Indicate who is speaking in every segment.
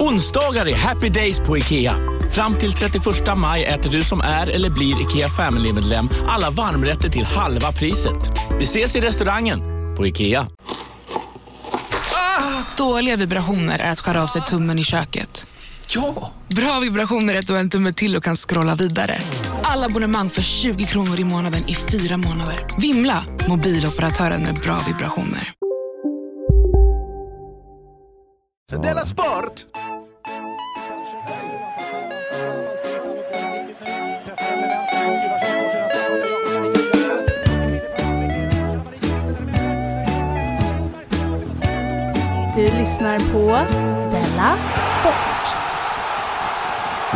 Speaker 1: Onsdagar är happy days på IKEA. Fram till 31 maj äter du som är eller blir IKEA Family-medlem alla varmrätter till halva priset. Vi ses i restaurangen på IKEA.
Speaker 2: Dåliga vibrationer är att skära av sig tummen i köket.
Speaker 1: Ja!
Speaker 2: Bra vibrationer är att du har en tumme till och kan scrolla vidare. Alla abonnemang för 20 kronor i månaden i fyra månader. Vimla! Mobiloperatören med bra vibrationer.
Speaker 3: Della Sport!
Speaker 4: Du lyssnar på Della Sport.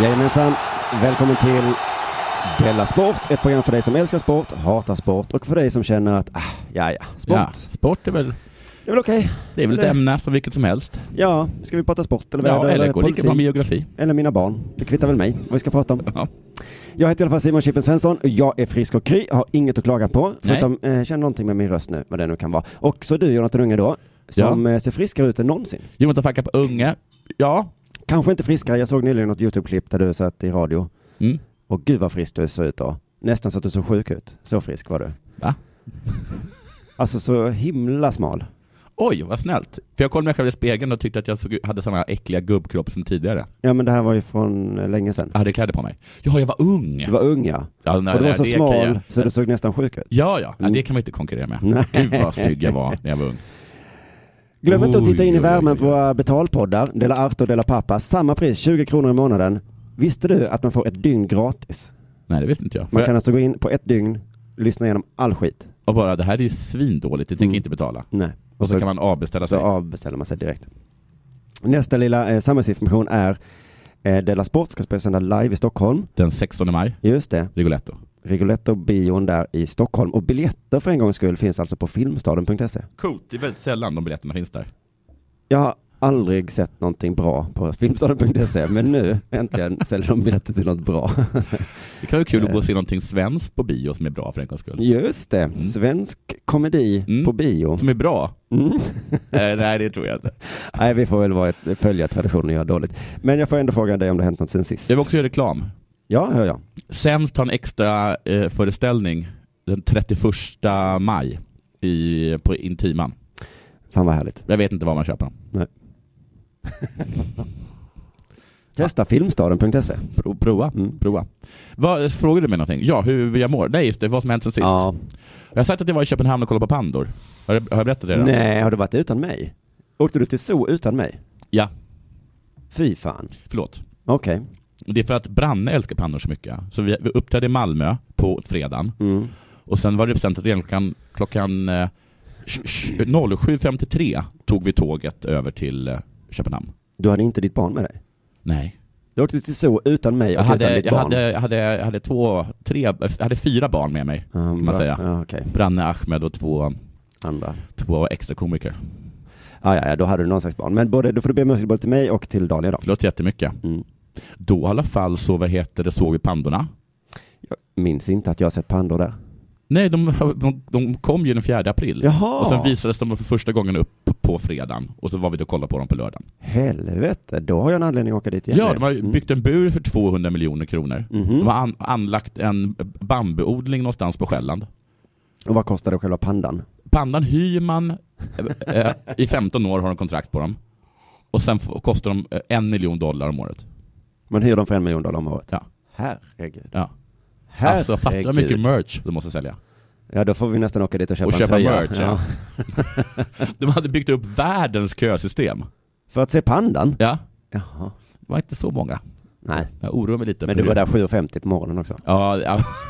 Speaker 5: Jajamensan, välkommen till Della Sport, ett program för dig som älskar sport, hatar sport och för dig som känner att, ah, ja ja, sport.
Speaker 6: Ja, sport är väl,
Speaker 5: Det är väl okej?
Speaker 6: det är väl ett
Speaker 5: Det-
Speaker 6: ämne som vilket som helst.
Speaker 5: Ja, ska vi prata sport eller
Speaker 6: Ja,
Speaker 5: väder
Speaker 6: eller gå lika bra med geografi.
Speaker 5: Eller mina barn. Det kvittar väl mig vad vi ska prata om.
Speaker 6: Ja.
Speaker 5: Jag heter i alla fall Simon Chippen Svensson, jag är frisk och kry, har inget att klaga på, förutom eh, känner någonting med min röst nu, vad det nu kan vara. Och så du Jonathan Unge då, som eh, ser friskare ut än någonsin.
Speaker 6: Jonathan Facka på Unge. Ja,
Speaker 5: Kanske inte friskare, jag såg nyligen något YouTube-klipp där du satt i radio.
Speaker 6: Mm.
Speaker 5: Och gud vad frisk du såg ut då. Nästan så att du såg sjuk ut. Så frisk var du.
Speaker 6: Va?
Speaker 5: Alltså så himla smal.
Speaker 6: oj vad snällt. För jag kollade mig själv i spegeln och tyckte att jag såg, hade samma äckliga gubbkropp som tidigare.
Speaker 5: Ja men det här var ju från eh, länge sedan.
Speaker 6: Jag hade kläder på mig. Ja, jag var ung.
Speaker 5: Du var ung ja.
Speaker 6: ja, nej,
Speaker 5: och du var
Speaker 6: nej,
Speaker 5: så
Speaker 6: det kan
Speaker 5: smal
Speaker 6: jag-
Speaker 5: så du såg nästan sjuk ut.
Speaker 6: Ja, ja, ja,
Speaker 5: Mm.
Speaker 6: det kan man inte konkurrera med.
Speaker 5: Nej.
Speaker 6: Gud vad snygg jag var när jag var ung.
Speaker 5: Glöm inte att titta in i
Speaker 6: Oj, oj,
Speaker 5: värmen
Speaker 6: oj,
Speaker 5: på våra betalpoddar, Dela Arte och Dela Pappa. Samma pris, 20 kronor i månaden. Visste du att man får ett dygn gratis?
Speaker 6: Nej, det visste inte jag.
Speaker 5: Man kan
Speaker 6: För,
Speaker 5: alltså gå in på ett dygn, lyssna igenom all skit.
Speaker 6: och bara, det här är ju svindåligt, det tänker
Speaker 5: Mm.
Speaker 6: jag inte betala.
Speaker 5: Nej.
Speaker 6: Och så, kan man avbeställa
Speaker 5: så
Speaker 6: sig.
Speaker 5: avbeställer man sig direkt. Nästa lilla eh, samhällsinformation är eh, Della Sport ska spela sända live i Stockholm.
Speaker 6: Den 16 maj,
Speaker 5: Just det,
Speaker 6: Rigoletto.
Speaker 5: Rigoletto-bion där i Stockholm. Och biljetter för en gångs skull finns alltså på filmstaden.se.
Speaker 6: Coolt, det är väldigt sällan de biljetterna finns där.
Speaker 5: Jag har aldrig sett någonting bra på filmstaden.se, men nu äntligen säljer de biljetter till något bra.
Speaker 6: Det kan vara kul att gå och se någonting svenskt på bio som är bra för en gångs skull.
Speaker 5: Just det, svensk komedi
Speaker 6: Mm.
Speaker 5: på bio.
Speaker 6: Som är bra?
Speaker 5: Mm.
Speaker 6: Eh, nej, det tror jag inte.
Speaker 5: Nej, vi får väl vara ett, följa traditionen och göra dåligt. Men jag får ändå fråga dig om det har hänt något sen sist.
Speaker 6: Jag vill också göra reklam.
Speaker 5: Ja, hör jag.
Speaker 6: Sämst har en extra eh, föreställning den 31 maj i, på Intiman.
Speaker 5: Fan vad härligt.
Speaker 6: Jag vet inte var man köper den.
Speaker 5: Testa filmstaden.se.
Speaker 6: Pro, prova.
Speaker 5: Mm.
Speaker 6: prova. Vad, frågar du mig någonting? Ja, hur jag mår? Nej, just det. Vad som hänt sen sist.
Speaker 5: Ja.
Speaker 6: Jag har sagt att jag var i Köpenhamn och kollade på pandor. Har jag, har jag berättat det? redan?
Speaker 5: Nej, har du varit utan mig? Åkte du till zoo utan mig?
Speaker 6: Ja,
Speaker 5: Fy fan.
Speaker 6: förlåt.
Speaker 5: Okej.
Speaker 6: Det är för att Branne älskar pandor så mycket. Så vi, vi uppträdde i Malmö på fredagen.
Speaker 5: Mm.
Speaker 6: Och sen var det bestämt att redan klockan, klockan eh, 07.53 tog vi tåget över till eh, Köpenhamn.
Speaker 5: Du hade inte ditt barn med dig?
Speaker 6: Nej.
Speaker 5: Du åkte till zoo utan mig och
Speaker 6: Jag
Speaker 5: utan
Speaker 6: hade,
Speaker 5: ditt
Speaker 6: jag,
Speaker 5: barn?
Speaker 6: hade, jag, hade, jag hade två, tre, jag hade fyra barn med mig.
Speaker 5: Ja,
Speaker 6: man
Speaker 5: bra.
Speaker 6: säga.
Speaker 5: Ja, okej.
Speaker 6: Branne, Ahmed och två,
Speaker 5: Andra.
Speaker 6: två extra komiker.
Speaker 5: Ah, ja, ja, då hade du någon slags barn. Men både, då får du be om ursäkt både till mig och till Daniel då.
Speaker 6: Förlåt jättemycket.
Speaker 5: Mm.
Speaker 6: Då i alla fall så, vad heter det, såg vi pandorna.
Speaker 5: Minns inte att jag har sett pandor där.
Speaker 6: Nej, de, de, de kom ju den 4 april.
Speaker 5: Jaha.
Speaker 6: Och sen visades de för första gången upp på fredagen. Och så var vi då och kollade på dem på lördagen.
Speaker 5: Helvete, då har jag en anledning att åka dit igen.
Speaker 6: Ja, de har ju byggt en bur för 200 miljoner kronor.
Speaker 5: Mhm.
Speaker 6: De har an, anlagt en bambuodling någonstans på Själland.
Speaker 5: Och vad kostade själva pandan?
Speaker 6: Pandan hyr man, eh, eh, i 15 år har de kontrakt på dem. Och sen f- kostar de eh, en miljon dollar om året.
Speaker 5: Man hyr dem för en miljon dollar om året.
Speaker 6: Ja.
Speaker 5: Herregud.
Speaker 6: Ja.
Speaker 5: Herregud.
Speaker 6: Alltså fatta hur mycket merch de måste sälja.
Speaker 5: Ja, då får vi nästan åka dit och köpa
Speaker 6: Och
Speaker 5: en
Speaker 6: köpa
Speaker 5: tröja.
Speaker 6: merch, ja. De hade byggt upp världens kösystem.
Speaker 5: För att se pandan?
Speaker 6: Ja,
Speaker 5: Jaha.
Speaker 6: det var inte så många.
Speaker 5: Nej.
Speaker 6: Jag oroar mig lite.
Speaker 5: Men
Speaker 6: för
Speaker 5: du var
Speaker 6: hur-
Speaker 5: där 7.50 på morgonen också?
Speaker 6: Ja,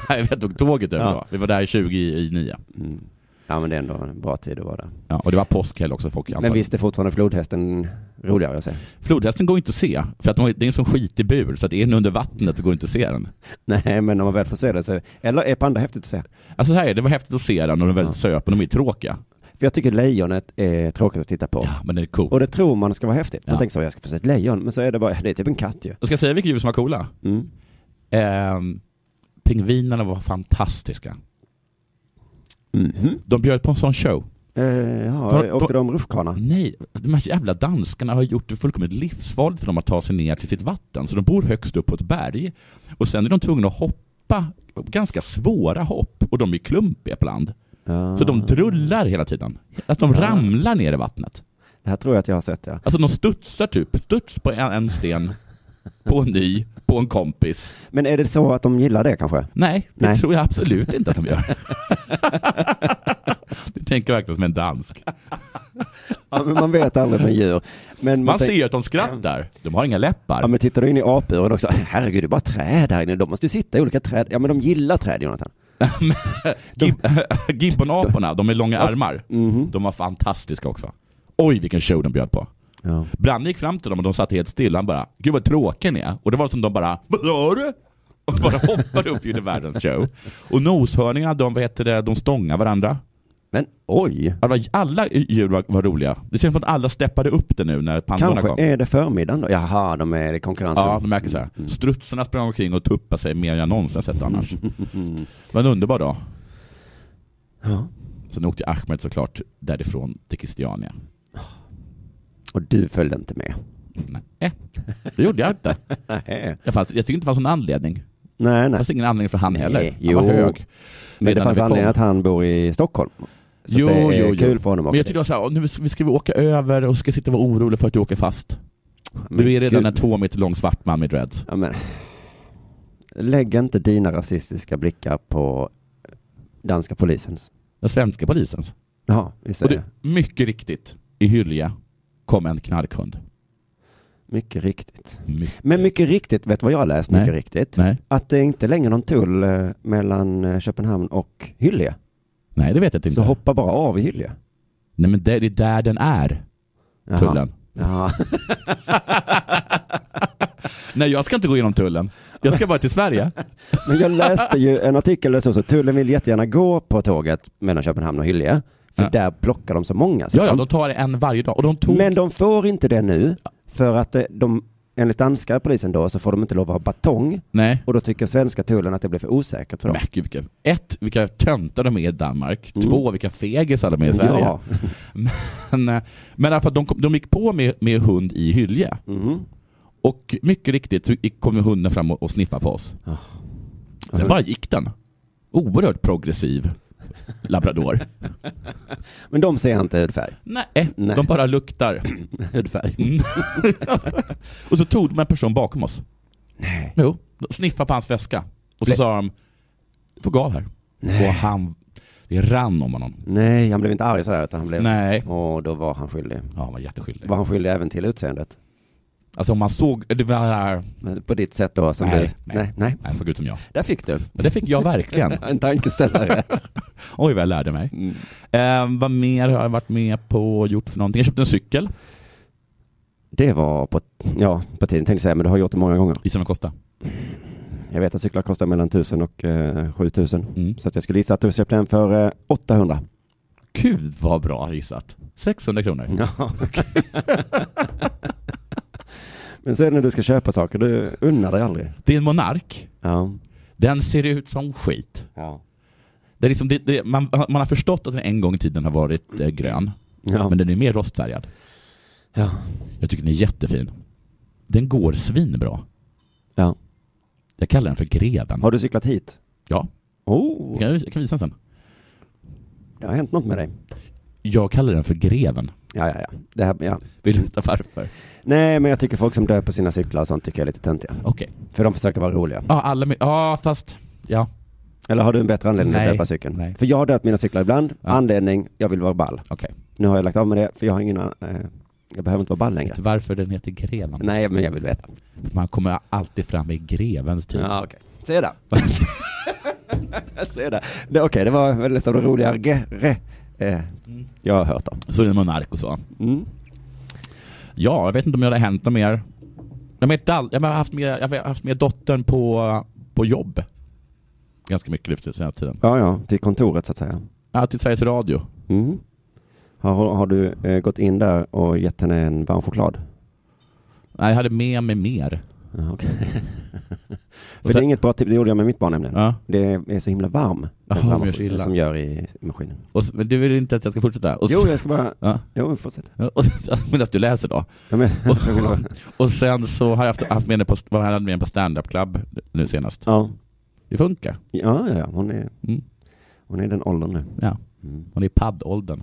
Speaker 6: ja jag tog tåget över
Speaker 5: Ja.
Speaker 6: då. Vi var där 20 i nio.
Speaker 5: Mm. Ja men det är ändå en bra tid att vara där.
Speaker 6: Ja, och det var påskhelg också. Folk
Speaker 5: Men
Speaker 6: antagligen-
Speaker 5: visst är fortfarande flodhästen roligare att se?
Speaker 6: Flodhästen går inte att se, för att de har- det är en sån skitig bur, så att är den under vattnet så går det inte att se den.
Speaker 5: Nej men om man väl får se det så, eller är panda häftigt att se?
Speaker 6: Alltså så här är det, det var häftigt att se den och de är väldigt söpen, de är tråkiga.
Speaker 5: För jag tycker lejonet är tråkigt att titta på.
Speaker 6: Ja, men det är coolt.
Speaker 5: Och det tror man ska vara häftigt. Man
Speaker 6: Ja.
Speaker 5: tänker så, jag ska få se ett lejon, men så är det bara, det är typ en katt ju.
Speaker 6: Jag ska säga vilka djur som var coola.
Speaker 5: Mm.
Speaker 6: Ehm, pingvinerna var fantastiska.
Speaker 5: Mhm.
Speaker 6: De bjöd på en sån show.
Speaker 5: Eh, ja,
Speaker 6: Var-
Speaker 5: åkte
Speaker 6: var-
Speaker 5: de rutschkana?
Speaker 6: Nej, de här jävla danskarna har gjort det fullkomligt livsfarligt för dem att ta sig ner till sitt vatten. Så de bor högst upp på ett berg. Och sen är de tvungna att hoppa ganska svåra hopp och de är klumpiga på land.
Speaker 5: Ja.
Speaker 6: Så de drullar hela tiden. Att de
Speaker 5: Ah.
Speaker 6: ramlar ner i vattnet.
Speaker 5: Det här tror jag att jag har sett ja.
Speaker 6: Alltså de studsar typ, studs på en, en sten, på en ny, på en kompis.
Speaker 5: Men är det så att de gillar det kanske?
Speaker 6: Nej, det
Speaker 5: Nej.
Speaker 6: tror jag absolut inte att de gör. du tänker verkligen som en dansk.
Speaker 5: Ja, men man vet aldrig med djur. Men man
Speaker 6: Man
Speaker 5: tänk-
Speaker 6: ser ju att de skrattar. De har inga läppar.
Speaker 5: Ja men tittar du in i apuren också, herregud det är bara träd här inne, de måste ju sitta i olika träd. Ja men de gillar träd Jonathan.
Speaker 6: Gib- Gibbonaporna, de med långa armar,
Speaker 5: Mhm.
Speaker 6: de var fantastiska också. Oj vilken show de bjöd på.
Speaker 5: Ja.
Speaker 6: Branne gick fram till dem och de satt helt stilla. Han bara, gud vad tråkiga ni är. Och det var som de bara, vad gör du? Och bara hoppade upp i världens show. Och noshörningarna, de, vad heter det, de stångade varandra.
Speaker 5: Men oj,
Speaker 6: Alla- Alla djur var, var roliga. Det känns som att alla steppade upp det nu när pandorna
Speaker 5: kanske
Speaker 6: kom.
Speaker 5: är det förmiddagen då? Jaha, de är i konkurrensen.
Speaker 6: Ja, de märker så här.
Speaker 5: Mm,
Speaker 6: Strutsarna sprang omkring och tuppade sig mer än jag någonsin sett annars. Det var en underbar dag.
Speaker 5: Ja.
Speaker 6: Sen åkte Ahmed såklart därifrån till Christiania.
Speaker 5: Och du följde inte med?
Speaker 6: Nej, det gjorde jag inte.
Speaker 5: Nej,
Speaker 6: Jag, fanns, jag tyckte inte det fanns någon anledning.
Speaker 5: nej.
Speaker 6: Det
Speaker 5: nej.
Speaker 6: fanns ingen anledning för han
Speaker 5: Nej,
Speaker 6: heller. Han
Speaker 5: jo.
Speaker 6: var hög.
Speaker 5: Men det
Speaker 6: Redan
Speaker 5: fanns
Speaker 6: när vi
Speaker 5: anledning
Speaker 6: kom.
Speaker 5: att han bor i Stockholm. Så
Speaker 6: Jo,
Speaker 5: det är
Speaker 6: jo,
Speaker 5: kul
Speaker 6: jo.
Speaker 5: för honom
Speaker 6: Men
Speaker 5: också.
Speaker 6: jag tyckte det var så här, "Åh, nu ska vi, ska vi åka över och ska sitta och vara oroliga för att du åker fast.
Speaker 5: Men
Speaker 6: Du är redan
Speaker 5: gud.
Speaker 6: en två meter lång svart man med dreads.
Speaker 5: Ja, men. Lägg inte dina rasistiska blickar på danska polisens.
Speaker 6: Den svenska polisen.
Speaker 5: Jaha, i
Speaker 6: Och
Speaker 5: Sverige.
Speaker 6: du, mycket riktigt, i Hylje kom en knarkhund.
Speaker 5: Mycket riktigt.
Speaker 6: Mycket.
Speaker 5: Men mycket riktigt, vet du vad jag har läst
Speaker 6: Nej.
Speaker 5: mycket riktigt?
Speaker 6: Nej.
Speaker 5: Att det är inte längre någon tull eh, mellan eh, Köpenhamn och Hyllie.
Speaker 6: Nej, det vet jag inte.
Speaker 5: Så hoppa bara av i Hyllie.
Speaker 6: Nej, men det, det är där den är,
Speaker 5: Jaha.
Speaker 6: tullen.
Speaker 5: Ja.
Speaker 6: Nej, jag ska inte gå igenom tullen. Jag ska bara till Sverige.
Speaker 5: Men jag läste ju en artikel där det stod så, tullen vill jättegärna gå på tåget mellan Köpenhamn och Hyllie. För
Speaker 6: Ja.
Speaker 5: där plockar de så många. så
Speaker 6: Ja, ja,
Speaker 5: de-
Speaker 6: de tar en varje dag. Och de tog...
Speaker 5: Men de får inte det nu, för att eh, de, enligt danska polisen då, så får de inte lov att ha batong.
Speaker 6: Nej.
Speaker 5: Och då tycker svenska tullen att det blir för osäkert för dem.
Speaker 6: Men gud, vilka, ett, vilka töntar de är i Danmark. Två, vilka fegisar de är i Sverige.
Speaker 5: Mm. Ja.
Speaker 6: Men, eh, men i alla fall, de, kom, de gick på med, med hund i Hylje.
Speaker 5: Mhm.
Speaker 6: Och mycket riktigt så gick- kom ju hunden fram och, och sniffade på oss. Sen bara gick den. Oerhört progressiv labrador.
Speaker 5: Men de ser inte hudfärg.
Speaker 6: Nej,
Speaker 5: Nej.
Speaker 6: de bara luktar.
Speaker 5: Hudfärg.
Speaker 6: Mm. och så tog de en person bakom oss. Nej. Jo, de sniffade på hans väska. Och så
Speaker 5: Nej.
Speaker 6: sa de, få gå av här. Och han, det rann om honom.
Speaker 5: Nej, han blev inte arg sådär utan han blev...
Speaker 6: Nej.
Speaker 5: Och då var han skyldig.
Speaker 6: Ja, han var jätteskyldig.
Speaker 5: Var han skyldig även till utseendet?
Speaker 6: Alltså om man såg, det var där,
Speaker 5: Men På ditt sätt då som
Speaker 6: Nej,
Speaker 5: du?
Speaker 6: nej.
Speaker 5: nej. Nej.
Speaker 6: nej, han såg ut som jag.
Speaker 5: Där fick du.
Speaker 6: Men det fick jag verkligen.
Speaker 5: En tankeställare.
Speaker 6: Oj vad jag lärde mig. Eh, vad mer har jag varit med på och gjort för någonting? Jag köpte en cykel.
Speaker 5: det var på, ja, på tiden tänkte jag säga, men du har gjort det många gånger.
Speaker 6: Gissa vad den kostade?
Speaker 5: Jag vet att cyklar kostar mellan 1000 och eh, 7000.
Speaker 6: Mm.
Speaker 5: Så att jag skulle gissa att du köpte den för eh, 800.
Speaker 6: Gud vad bra gissat. 600 kronor.
Speaker 5: Ja, Men sen när du ska köpa saker, du unnar dig aldrig.
Speaker 6: Det är en Monark.
Speaker 5: Ja.
Speaker 6: Den ser ut som skit.
Speaker 5: Ja.
Speaker 6: Det är liksom, det, det, man, man har förstått att den en gång i tiden har varit eh, grön,
Speaker 5: Ja.
Speaker 6: men den är mer rostfärgad.
Speaker 5: ja.
Speaker 6: Jag tycker den är jättefin. Den går svinbra.
Speaker 5: Ja.
Speaker 6: Jag kallar den för greven.
Speaker 5: Har du cyklat hit?
Speaker 6: Ja, jag
Speaker 5: Oh,
Speaker 6: kan, jag kan visa den sen.
Speaker 5: det har hänt något med dig.
Speaker 6: Jag kallar den för greven.
Speaker 5: Ja, ja, ja. Det här, ja.
Speaker 6: Vill du veta varför?
Speaker 5: Nej, men jag tycker folk som döper sina cyklar och sånt tycker jag är lite töntiga.
Speaker 6: Okej.
Speaker 5: För de försöker vara roliga.
Speaker 6: Ja, alla med, ja, fast... Ja,
Speaker 5: Eller har du en bättre anledning
Speaker 6: Nej.
Speaker 5: att döpa cykeln?
Speaker 6: Nej.
Speaker 5: För jag har döpt mina cyklar ibland.
Speaker 6: Ja.
Speaker 5: Anledning, jag vill vara ball.
Speaker 6: okej.
Speaker 5: Nu har jag lagt av med det, för jag har ingen, an- eh, jag behöver inte vara ball längre.
Speaker 6: Vet du varför den heter greven?
Speaker 5: Nej, men jag vill veta.
Speaker 6: Man kommer alltid fram i grevens tid.
Speaker 5: Ja, okej. Se där. Jag ser det. det Okej, det var väl ett av de roligare ge- re- eh, jag har hört om.
Speaker 6: Så är det Monark och så. Ja, jag vet inte om jag har hänt något mer. Jag, vet, inte all- jag, har haft med, jag har haft med dottern på, på jobb. Ganska mycket lyft den senaste tiden.
Speaker 5: Ja, ja, till kontoret så att säga.
Speaker 6: Ja, till Sveriges Radio.
Speaker 5: Mm. Har, har du eh, gått in där och gett henne en varm choklad?
Speaker 6: Nej, jag hade med mig mer.
Speaker 5: Ja, okej.
Speaker 6: Och
Speaker 5: För det är
Speaker 6: sen-
Speaker 5: inget bra tips, det gjorde jag med mitt barn nämligen.
Speaker 6: Ja.
Speaker 5: Det är så himla varm,
Speaker 6: Jaha,
Speaker 5: den
Speaker 6: de
Speaker 5: varma
Speaker 6: gör sig
Speaker 5: chokladen
Speaker 6: illa.
Speaker 5: som gör i maskinen.
Speaker 6: Och, s- men du vill inte att jag ska fortsätta? Och, s-
Speaker 5: Jo, jag ska bara...
Speaker 6: Ja.
Speaker 5: Jo, fortsätt.
Speaker 6: Och, men att du läser då.
Speaker 5: Jag men...
Speaker 6: Och, och sen så har jag haft, haft med henne på, var här med henne på stand-up club nu senast.
Speaker 5: ja.
Speaker 6: Det funkar.
Speaker 5: Ja, ja, ja. Hon är,
Speaker 6: Mm.
Speaker 5: hon är i den åldern nu.
Speaker 6: Ja.
Speaker 5: Mm.
Speaker 6: Hon är i paddåldern.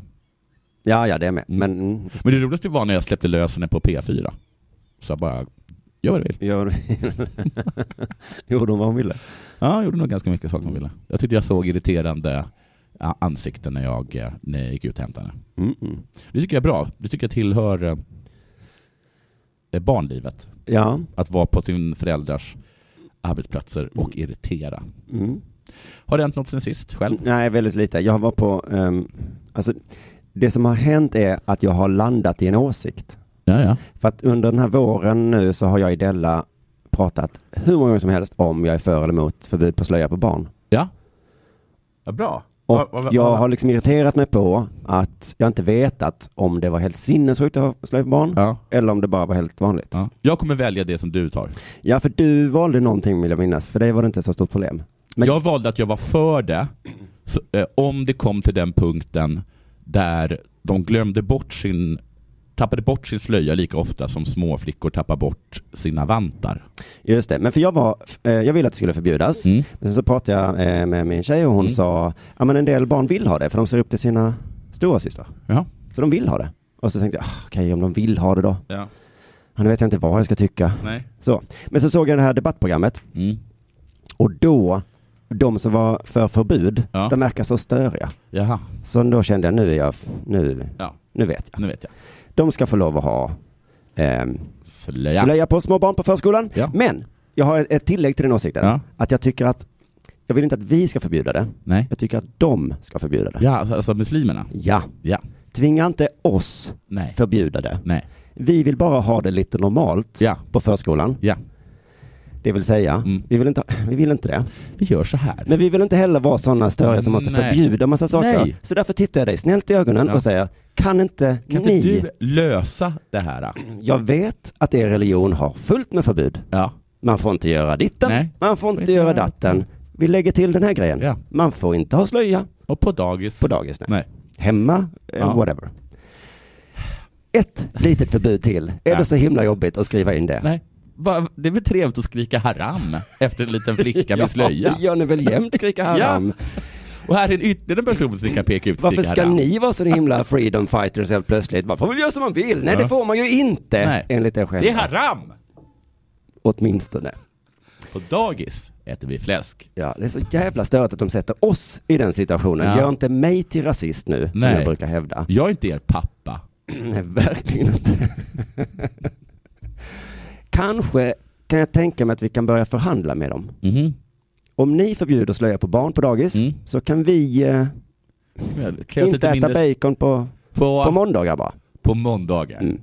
Speaker 5: Ja, ja, det är med.
Speaker 6: Mm.
Speaker 5: Men mm,
Speaker 6: Men det roligaste var när jag släppte lös henne på P4. Så jag bara, gör vad du vill.
Speaker 5: gör... gjorde hon vad hon ville?
Speaker 6: Ja, jag gjorde nog ganska mycket saker man ville. Jag tyckte jag såg irriterande ja, ansikten när jag, eh, när jag gick ut och hämtade henne.
Speaker 5: Mm, mm.
Speaker 6: Det tycker jag är bra. Det tycker jag tillhör eh, eh, barnlivet.
Speaker 5: Ja.
Speaker 6: Att vara på sin föräldrars arbetsplatser och irritera.
Speaker 5: Mm.
Speaker 6: Har det hänt något sen sist själv?
Speaker 5: Nej, väldigt lite. Jag var på... ehm, alltså, det som har hänt är att jag har landat i en åsikt.
Speaker 6: Ja, ja.
Speaker 5: För att under den här våren nu så har jag i Della pratat hur många gånger som helst om jag är för eller emot förbud på slöja på barn.
Speaker 6: Ja, ja bra.
Speaker 5: Och
Speaker 6: Vad- vad- vad-
Speaker 5: jag
Speaker 6: vad-
Speaker 5: har liksom irriterat mig på att jag inte vetat om det var helt sinnessjukt att ha slöja på barn
Speaker 6: Ja.
Speaker 5: eller om det bara var helt vanligt.
Speaker 6: Ja. Jag kommer välja det som du tar.
Speaker 5: Ja, för du valde någonting vill jag minnas, för dig var det inte ett så stort problem. Men-
Speaker 6: Jag valde att jag var för det så, eh, om det kom till den punkten där de glömde bort sin tappade bort sin slöja lika ofta som små flickor tappar bort sina vantar.
Speaker 5: Just det, men för jag var, eh, jag ville att det skulle förbjudas.
Speaker 6: Mm.
Speaker 5: Men sen så pratade jag eh, med min tjej och hon
Speaker 6: Mm.
Speaker 5: sa, ja men en del barn vill ha det för de ser upp till sina stora systrar.
Speaker 6: Ja.
Speaker 5: Så de vill ha det. Och så tänkte jag, ah, okej om de vill ha det då.
Speaker 6: ja.
Speaker 5: Ja, nu vet jag inte vad jag ska tycka.
Speaker 6: Nej.
Speaker 5: Så. Men så såg jag det här debattprogrammet
Speaker 6: Mm.
Speaker 5: och då, de som var för förbud,
Speaker 6: Ja.
Speaker 5: de verkar så störiga.
Speaker 6: Jaha,
Speaker 5: Så då kände jag, nu är jag, nu,
Speaker 6: Ja.
Speaker 5: nu vet jag.
Speaker 6: nu vet jag.
Speaker 5: De ska få lov att ha ehm,
Speaker 6: Slöja.
Speaker 5: slöja på små barn på förskolan.
Speaker 6: Ja.
Speaker 5: Men jag har ett tillägg till den åsikten.
Speaker 6: Ja.
Speaker 5: Att jag tycker att, jag vill inte att vi ska förbjuda det.
Speaker 6: Nej.
Speaker 5: Jag tycker att de ska förbjuda det.
Speaker 6: Ja, alltså muslimerna.
Speaker 5: Ja.
Speaker 6: Ja.
Speaker 5: Tvinga inte oss
Speaker 6: Nej.
Speaker 5: förbjuda det.
Speaker 6: Nej.
Speaker 5: Vi vill bara ha det lite normalt
Speaker 6: Ja.
Speaker 5: på förskolan.
Speaker 6: Ja.
Speaker 5: Det vill säga,
Speaker 6: Mm.
Speaker 5: vi, vill inte, vi vill inte det.
Speaker 6: Vi gör så här.
Speaker 5: Men vi vill inte heller vara sådana störiga som måste
Speaker 6: Nej.
Speaker 5: förbjuda massa saker.
Speaker 6: Nej.
Speaker 5: Så därför tittar jag dig snällt i ögonen
Speaker 6: Ja.
Speaker 5: och säger, kan inte
Speaker 6: kan
Speaker 5: ni?
Speaker 6: inte du lösa det här?
Speaker 5: Jag vet att er religion har fullt med förbud.
Speaker 6: Ja.
Speaker 5: Man får inte göra ditten,
Speaker 6: Nej.
Speaker 5: man får inte göra datten. Vi lägger till den här grejen.
Speaker 6: Ja.
Speaker 5: Man får inte ha slöja
Speaker 6: Och på dagis.
Speaker 5: på dagis. Nej.
Speaker 6: Nej.
Speaker 5: Hemma, eh,
Speaker 6: Ja.
Speaker 5: whatever. Ett litet förbud till. Är
Speaker 6: Ja.
Speaker 5: det så himla jobbigt att skriva in det?
Speaker 6: Nej. Va- Det är väl trevligt att skrika haram efter en liten flicka med slöja.
Speaker 5: Ja, det gör ni väl jämt, skrika haram.
Speaker 6: Och här är en ytterligare person som kan peka ut
Speaker 5: Varför ska
Speaker 6: stickaren.
Speaker 5: ni vara så himla freedom fighters helt plötsligt? Man får väl göra som man vill? Nej,
Speaker 6: Ja.
Speaker 5: det får man ju inte,
Speaker 6: Nej.
Speaker 5: enligt er själva.
Speaker 6: Det är haram!
Speaker 5: Åtminstone.
Speaker 6: På dagis äter vi fläsk.
Speaker 5: Ja, det är så jävla stört att de sätter oss i den situationen.
Speaker 6: Ja.
Speaker 5: Gör inte mig till rasist nu, som
Speaker 6: Nej.
Speaker 5: jag brukar hävda.
Speaker 6: Jag är inte er pappa.
Speaker 5: Nej, verkligen inte. Kanske kan jag tänka mig att vi kan börja förhandla med dem.
Speaker 6: Mhm.
Speaker 5: Om ni förbjuder slöja på barn på dagis
Speaker 6: Mm.
Speaker 5: så kan vi eh,
Speaker 6: Klä oss
Speaker 5: inte
Speaker 6: lite
Speaker 5: äta
Speaker 6: mindre
Speaker 5: bacon på,
Speaker 6: på,
Speaker 5: på måndagar bara.
Speaker 6: på måndagar.
Speaker 5: Mm.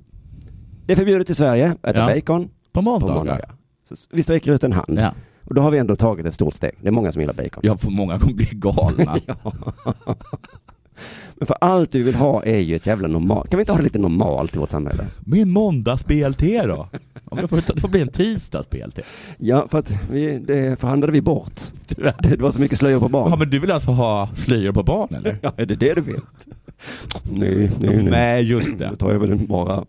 Speaker 5: Det är förbjudet i Sverige att äta
Speaker 6: Ja.
Speaker 5: bacon
Speaker 6: På
Speaker 5: på
Speaker 6: måndagar.
Speaker 5: måndagar. Så s- vi sträcker ut en hand
Speaker 6: Ja.
Speaker 5: och då har vi ändå tagit ett stort steg. Det är många som gillar bacon.
Speaker 6: Jag får många kommer bli galna.
Speaker 5: Men för allt vi vill ha är ju ett jävla normalt. Kan vi inte ha det lite normalt i vårt samhälle?
Speaker 6: Min måndags-BLT då? Ja, men det, får, det får bli en tisdags-BLT.
Speaker 5: Ja, för att vi, det förhandlade vi bort.
Speaker 6: Tyvärr.
Speaker 5: Det var så mycket slöjor på barn.
Speaker 6: Ja, men du vill alltså ha slöjor på barn eller?
Speaker 5: Ja, är det det du vill? Nej, nej, nej.
Speaker 6: Nej, just
Speaker 5: Då
Speaker 6: det.
Speaker 5: tar jag väl en bara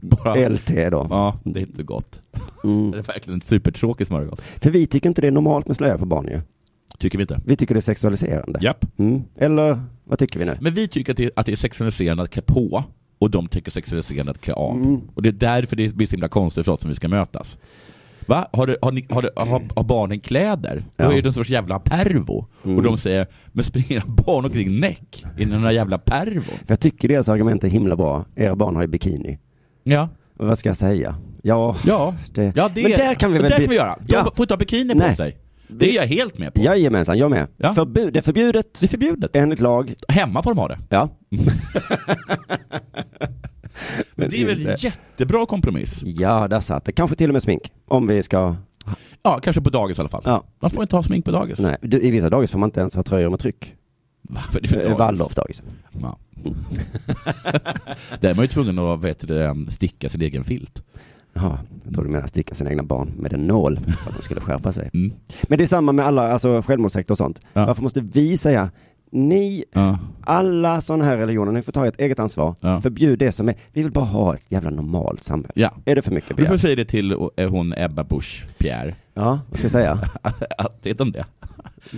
Speaker 6: Bara,
Speaker 5: LT då.
Speaker 6: ja, det är inte gott. Det
Speaker 5: Mm.
Speaker 6: är verkligen en supertråkig smörgås.
Speaker 5: För vi tycker inte det är normalt med slöja på barn ju.
Speaker 6: Tycker vi inte.
Speaker 5: Vi tycker det är sexualiserande.
Speaker 6: Japp.
Speaker 5: Mm. Eller vad tycker vi nu?
Speaker 6: Men vi tycker att det, att det är sexualiserande att klä på och de tycker sexualiserande att klä av. Och det är därför det blir så himla konstigt för oss som vi ska mötas. Va? Har, du, har, ni, har, du, har, har barnen kläder? Då
Speaker 5: Ja. Mm.
Speaker 6: är det en sorts jävla pervo. Och de säger, men springer era barn omkring näck i den här jävla pervon?
Speaker 5: För jag tycker deras argument är himla bra. Era barn har ju bikini.
Speaker 6: Ja.
Speaker 5: Och vad ska jag säga? Ja,
Speaker 6: Ja.
Speaker 5: Det-
Speaker 6: ja det,
Speaker 5: Men där kan vi väl
Speaker 6: där
Speaker 5: bli-
Speaker 6: kan vi göra. De
Speaker 5: Ja.
Speaker 6: får inte ha bikini på
Speaker 5: Nej.
Speaker 6: sig. Det är jag helt med på.
Speaker 5: Jajamensan, jag med. Förbud, det är förbjudet.
Speaker 6: Det är förbjudet.
Speaker 5: Enligt lag.
Speaker 6: Hemma får de ha det.
Speaker 5: Ja.
Speaker 6: Men det är väl
Speaker 5: inte-
Speaker 6: jättebra kompromiss?
Speaker 5: Mm. Ja, där satt det. Kanske till och med smink. Om vi ska...
Speaker 6: Ja, kanske på dagis i alla fall.
Speaker 5: Ja.
Speaker 6: Man får inte ha smink på dagis.
Speaker 5: Nej, du, i vissa dagis får man inte ens ha tröjor med tryck.
Speaker 6: Varför är det för
Speaker 5: Eh,
Speaker 6: dagis?
Speaker 5: Waldorf-dagis.
Speaker 6: Ja. Där är man ju tvungen att vad heter det, sticka sin egen filt.
Speaker 5: Ja, jag tror du menar sticka sina egna barn med en nål för att de skulle skärpa sig.
Speaker 6: Mm.
Speaker 5: Men det är samma med alla, alltså självmordssektor och sånt.
Speaker 6: Ja.
Speaker 5: Varför måste vi säga ni,
Speaker 6: Ja.
Speaker 5: alla sådana här religioner, ni får ta ert eget ansvar.
Speaker 6: Ja.
Speaker 5: Förbjud det som är, vi vill bara ha ett jävla normalt samhälle.
Speaker 6: Ja.
Speaker 5: Är det för mycket
Speaker 6: Du får
Speaker 5: begärt?
Speaker 6: säga det till eh, hon Ebba Busch Pierre.
Speaker 5: Ja, vad ska jag säga?
Speaker 6: Att, vet de det?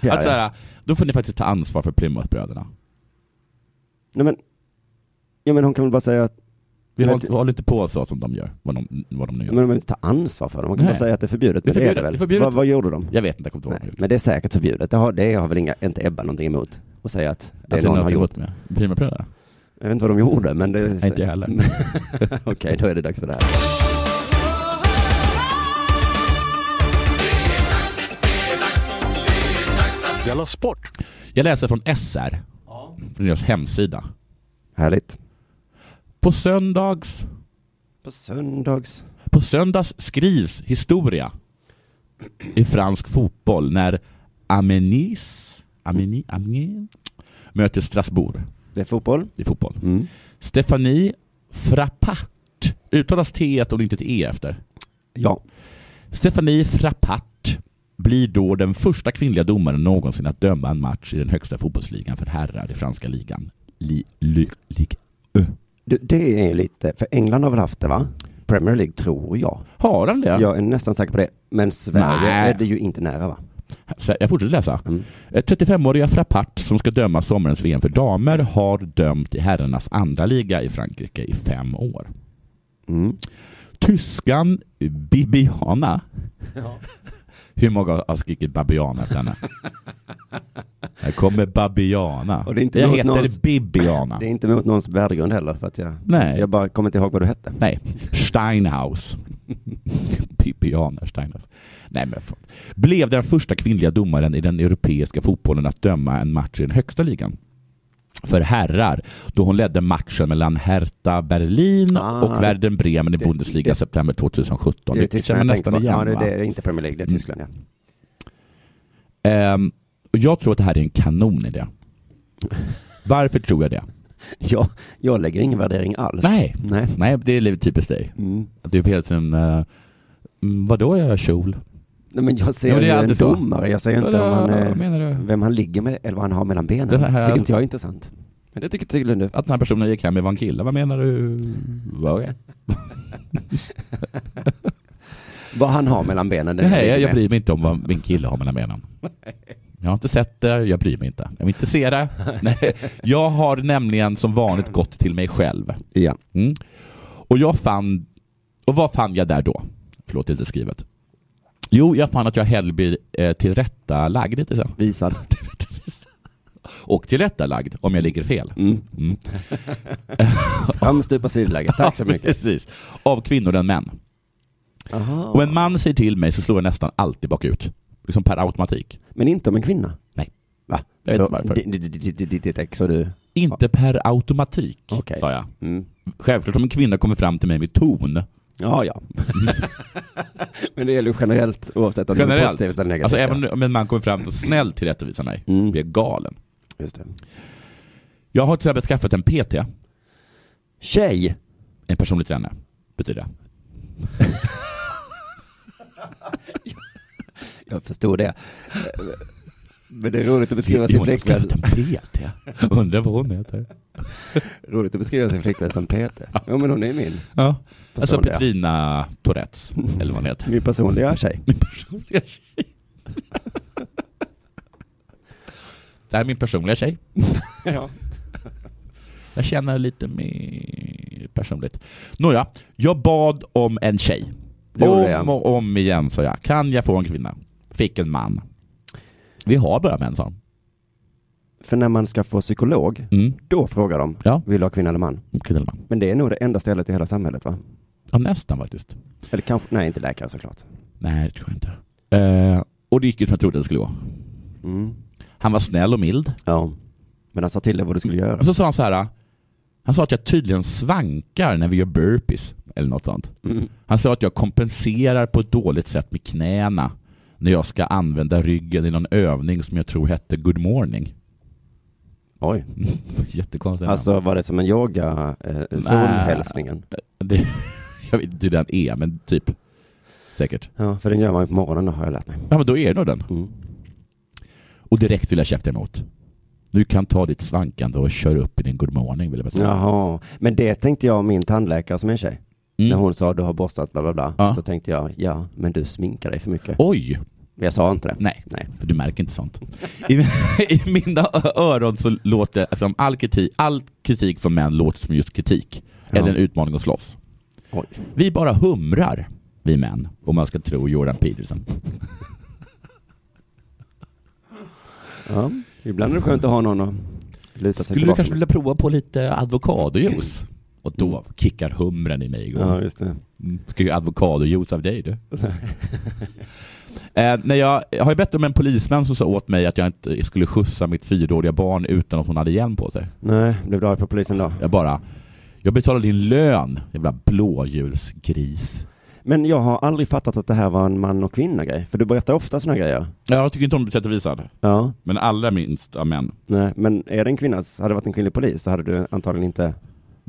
Speaker 5: Pierre,
Speaker 6: att så här, då får ni faktiskt ta ansvar för Plymouthbröderna.
Speaker 5: Nej, men, ja, men hon kan väl bara säga att,
Speaker 6: Vi
Speaker 5: Men
Speaker 6: håller,
Speaker 5: det-
Speaker 6: håller inte på så som de gör, vad de, vad de nu gör.
Speaker 5: men de behöver inte ta ansvar för det. Man kan
Speaker 6: Nej.
Speaker 5: bara säga att det är förbjudet.
Speaker 6: Det är
Speaker 5: men
Speaker 6: förbjudet,
Speaker 5: väl?
Speaker 6: det är förbjudet.
Speaker 5: Vad, vad gjorde de?
Speaker 6: Jag vet inte, jag kommer inte
Speaker 5: Nej,
Speaker 6: ihåg.
Speaker 5: men det är säkert förbjudet. Det har, det har väl inga, inte Ebba någonting emot. Och säga att det
Speaker 6: Att
Speaker 5: någon har
Speaker 6: något emot
Speaker 5: gjort.
Speaker 6: Med. Plymouthbröderna?
Speaker 5: Jag vet inte vad de gjorde, men det...
Speaker 6: Nej, inte jag heller.
Speaker 5: Okej, då är det dags för det här.
Speaker 3: Della Sport!
Speaker 6: Jag läser från SR, från deras hemsida.
Speaker 5: Härligt.
Speaker 6: På söndags,
Speaker 5: På söndags.
Speaker 6: på söndags skrivs historia i fransk fotboll när Amenis, Ameni, Ameni möter Strasbourg
Speaker 5: Det är fotboll.
Speaker 6: i fotboll.
Speaker 5: Mm.
Speaker 6: Stefanie Frappart, uttalas T och inte ett E efter.
Speaker 5: Ja.
Speaker 6: Stefanie Frappart blir då den första kvinnliga domaren någonsin att döma en match i den högsta fotbollsligan för herrar i franska ligan. Li, li, li.
Speaker 5: Du, det är ju lite, för England har väl haft det va? Premier League tror jag.
Speaker 6: Har han det?
Speaker 5: Jag är nästan säker på det. Men Sverige
Speaker 6: Nej.
Speaker 5: är det ju inte nära va?
Speaker 6: Så Jag fortsätter läsa.
Speaker 5: Mm.
Speaker 6: Eh, 35-åriga Frappart som ska döma sommarens VM för damer har dömt i herrarnas andra liga i Frankrike i fem år.
Speaker 5: Mm.
Speaker 6: Tyskan Bibiana. Hur många har skrikit Babiana efter henne? Här kommer Babiana.
Speaker 5: Och det är inte
Speaker 6: jag
Speaker 5: något
Speaker 6: heter
Speaker 5: någons-
Speaker 6: Bibiana.
Speaker 5: Det är inte mot någons värdegrund heller för att jag,
Speaker 6: Nej.
Speaker 5: jag bara kommer inte ihåg vad du hette.
Speaker 6: Nej, Steinhaus. Pipiana Steinhaus. Nej, men fan. Blev den första kvinnliga domaren i den europeiska fotbollen att döma en match i den högsta ligan för herrar då hon ledde matchen mellan Hertha Berlin
Speaker 5: Ah,
Speaker 6: och Werder Bremen i
Speaker 5: det-
Speaker 6: Bundesliga
Speaker 5: det-
Speaker 6: september 2017.
Speaker 5: Det är
Speaker 6: Det känner
Speaker 5: Tyskland jag tänkte
Speaker 6: nästan
Speaker 5: på.
Speaker 6: igen.
Speaker 5: Ja, det,
Speaker 6: va?
Speaker 5: det är inte Premier League, det är Tyskland ja.
Speaker 6: Ehm, och jag tror att det här är en kanonidé. Varför tror jag det?
Speaker 5: Jag, jag lägger ingen värdering alls.
Speaker 6: Nej.
Speaker 5: Nej.
Speaker 6: Nej, det är lite typiskt dig.
Speaker 5: Mm.
Speaker 6: Att Du är helt som, uh, vadå jag har kjol?
Speaker 5: Nej men jag ser
Speaker 6: Ja, men det är
Speaker 5: ju en
Speaker 6: alltid så.
Speaker 5: domare, jag säger inte
Speaker 6: Vadå,
Speaker 5: om han är...
Speaker 6: vad menar du?
Speaker 5: vem han ligger med eller vad han har mellan benen.
Speaker 6: Det
Speaker 5: Det
Speaker 6: här-
Speaker 5: tycker
Speaker 6: alltså-
Speaker 5: inte jag är intressant. Men det tycker tydligen du.
Speaker 6: Att den här personen gick hem med var en kille, vad menar du? Okay.
Speaker 5: Vad han har mellan benen. det är
Speaker 6: Nej,
Speaker 5: det
Speaker 6: jag, jag
Speaker 5: med.
Speaker 6: bryr mig inte om vad min kille har mellan benen. Jag har inte sett det, jag bryr mig inte. Jag vill inte se det. Nej. Jag har nämligen som vanligt gått till mig själv.
Speaker 5: Ja.
Speaker 6: Mm. Och jag fann, och vad fann jag där då? Förlåt, det är inte skrivet. Jo, jag fann att jag hellre blir eh, tillrättalagd lite så.
Speaker 5: Visad.
Speaker 6: Och tillrättalagd om jag ligger fel.
Speaker 5: Mm.
Speaker 6: Mm.
Speaker 5: Framstupa sidoläge. Tack så mycket.
Speaker 6: Precis. Av kvinnor än män.
Speaker 5: Aha.
Speaker 6: Om en man säger till mig så slår jag nästan alltid bakut. Liksom per automatik.
Speaker 5: Men inte om en kvinna.
Speaker 6: Nej.
Speaker 5: Va?
Speaker 6: Jag vet inte varför.
Speaker 5: Di- di- di- di- di- di- Ditt ex och du.
Speaker 6: Inte per automatik,
Speaker 5: Okej.
Speaker 6: sa jag.
Speaker 5: Mm.
Speaker 6: Självklart om en kvinna kommer fram till mig med ton.
Speaker 5: Ja, ja. Men det gäller ju generellt oavsett om det är
Speaker 6: Generellt.
Speaker 5: positivt eller negativt.
Speaker 6: Alltså
Speaker 5: ja.
Speaker 6: även om en man kommer fram och snällt tillrättavisar mig,
Speaker 5: Mm.
Speaker 6: blir jag galen.
Speaker 5: Just det.
Speaker 6: Jag har till exempel skaffat en PT,
Speaker 5: Tjej.
Speaker 6: en personlig tränare, betyder det.
Speaker 5: Jag förstod det. Men det är roligt att beskriva sin
Speaker 6: Jo, jag har
Speaker 5: flickvän.
Speaker 6: skaffat en PT. Undrar vad hon heter.
Speaker 5: Roligt att beskriva sin flickvän som Peter. Ja, men hon är min.
Speaker 6: Ja. Alltså
Speaker 5: Personliga.
Speaker 6: Petrina Tourettes, eller vad hon heter.
Speaker 5: Min personliga tjej.
Speaker 6: Min personliga tjej. Det här är min personliga tjej.
Speaker 5: Ja.
Speaker 6: Jag känner lite mer personligt. Nåja, jag bad om en tjej.
Speaker 5: Det gjorde jag.
Speaker 6: om och om igen sa jag. Kan jag få en kvinna? Fick en man. Vi har bara män sa de.
Speaker 5: För när man ska få psykolog,
Speaker 6: Mm.
Speaker 5: Då frågar de,
Speaker 6: Ja. Mm.
Speaker 5: vill du ha kvinna eller man?
Speaker 6: Kvinna eller man.
Speaker 5: Men det är nog det enda stället i hela samhället va?
Speaker 6: Ja, nästan faktiskt.
Speaker 5: Eller kanske, nej inte läkare såklart.
Speaker 6: Nej, det tror jag inte. Eh, Och det gick ju som jag trodde det skulle gå. Han var snäll och mild.
Speaker 5: Ja. Men han sa till dig vad du skulle göra.
Speaker 6: Och så sa han så här. Han sa att jag tydligen svankar när vi gör burpees. Eller något sånt. Han sa att jag kompenserar på ett dåligt sätt med knäna när jag ska använda ryggen i någon övning som jag tror hette good morning.
Speaker 5: Oj.
Speaker 6: Jättekonstigt.
Speaker 5: Alltså var det som en yoga eh, solhälsningen?
Speaker 6: Det, jag vet inte hur den är, men typ. Säkert.
Speaker 5: Ja, för den gör man ju på morgonen har jag lärt mig. Mm.
Speaker 6: Ja, men då är det nog den. Och direkt vill jag käfta emot. Du kan ta ditt svankande och köra upp i din good morning, vill jag bara säga.
Speaker 5: Jaha, men det tänkte jag om min tandläkare som är tjej.
Speaker 6: Mm.
Speaker 5: När hon sa du har borstat bla bla bla,
Speaker 6: Ja.
Speaker 5: så tänkte jag ja, men du sminkar dig för mycket.
Speaker 6: Oj!
Speaker 5: Men Jag sa inte det.
Speaker 6: Nej, för du märker inte sånt. I, I mina ö- öron så låter alltså, om all kritik, all kritik från män låter som just kritik. Eller en utmaning att slåss. Vi bara humrar, vi män, om man ska tro Jordan Peterson.
Speaker 5: Ja, ibland är det skönt att ha någon att luta sig
Speaker 6: Skulle du
Speaker 5: tillbaka
Speaker 6: kanske
Speaker 5: mot. Mm.
Speaker 6: vilja prova på lite avokadojuice? Och då kickar humren i mig igång.
Speaker 5: Ja, just det.
Speaker 6: Mm. Ska ju avokadojuice av dig du. eh, när jag, jag har ju bett om en polisman som sa åt mig att jag inte skulle skjutsa mitt fyraåriga barn utan att hon hade hjälm på sig.
Speaker 5: Nej, blev du arg på polisen då?
Speaker 6: Jag bara, jag betalar din lön, jävla blåhjulsgris.
Speaker 5: Men jag har aldrig fattat att det här var en man och kvinna grej, för du berättar ofta sådana grejer.
Speaker 6: Ja, Jag tycker inte om att bli tillrättavisad,
Speaker 5: Ja,
Speaker 6: men allra minst av män.
Speaker 5: nej, men är det en kvinna, hade det varit en kvinnlig polis så hade du antagligen inte...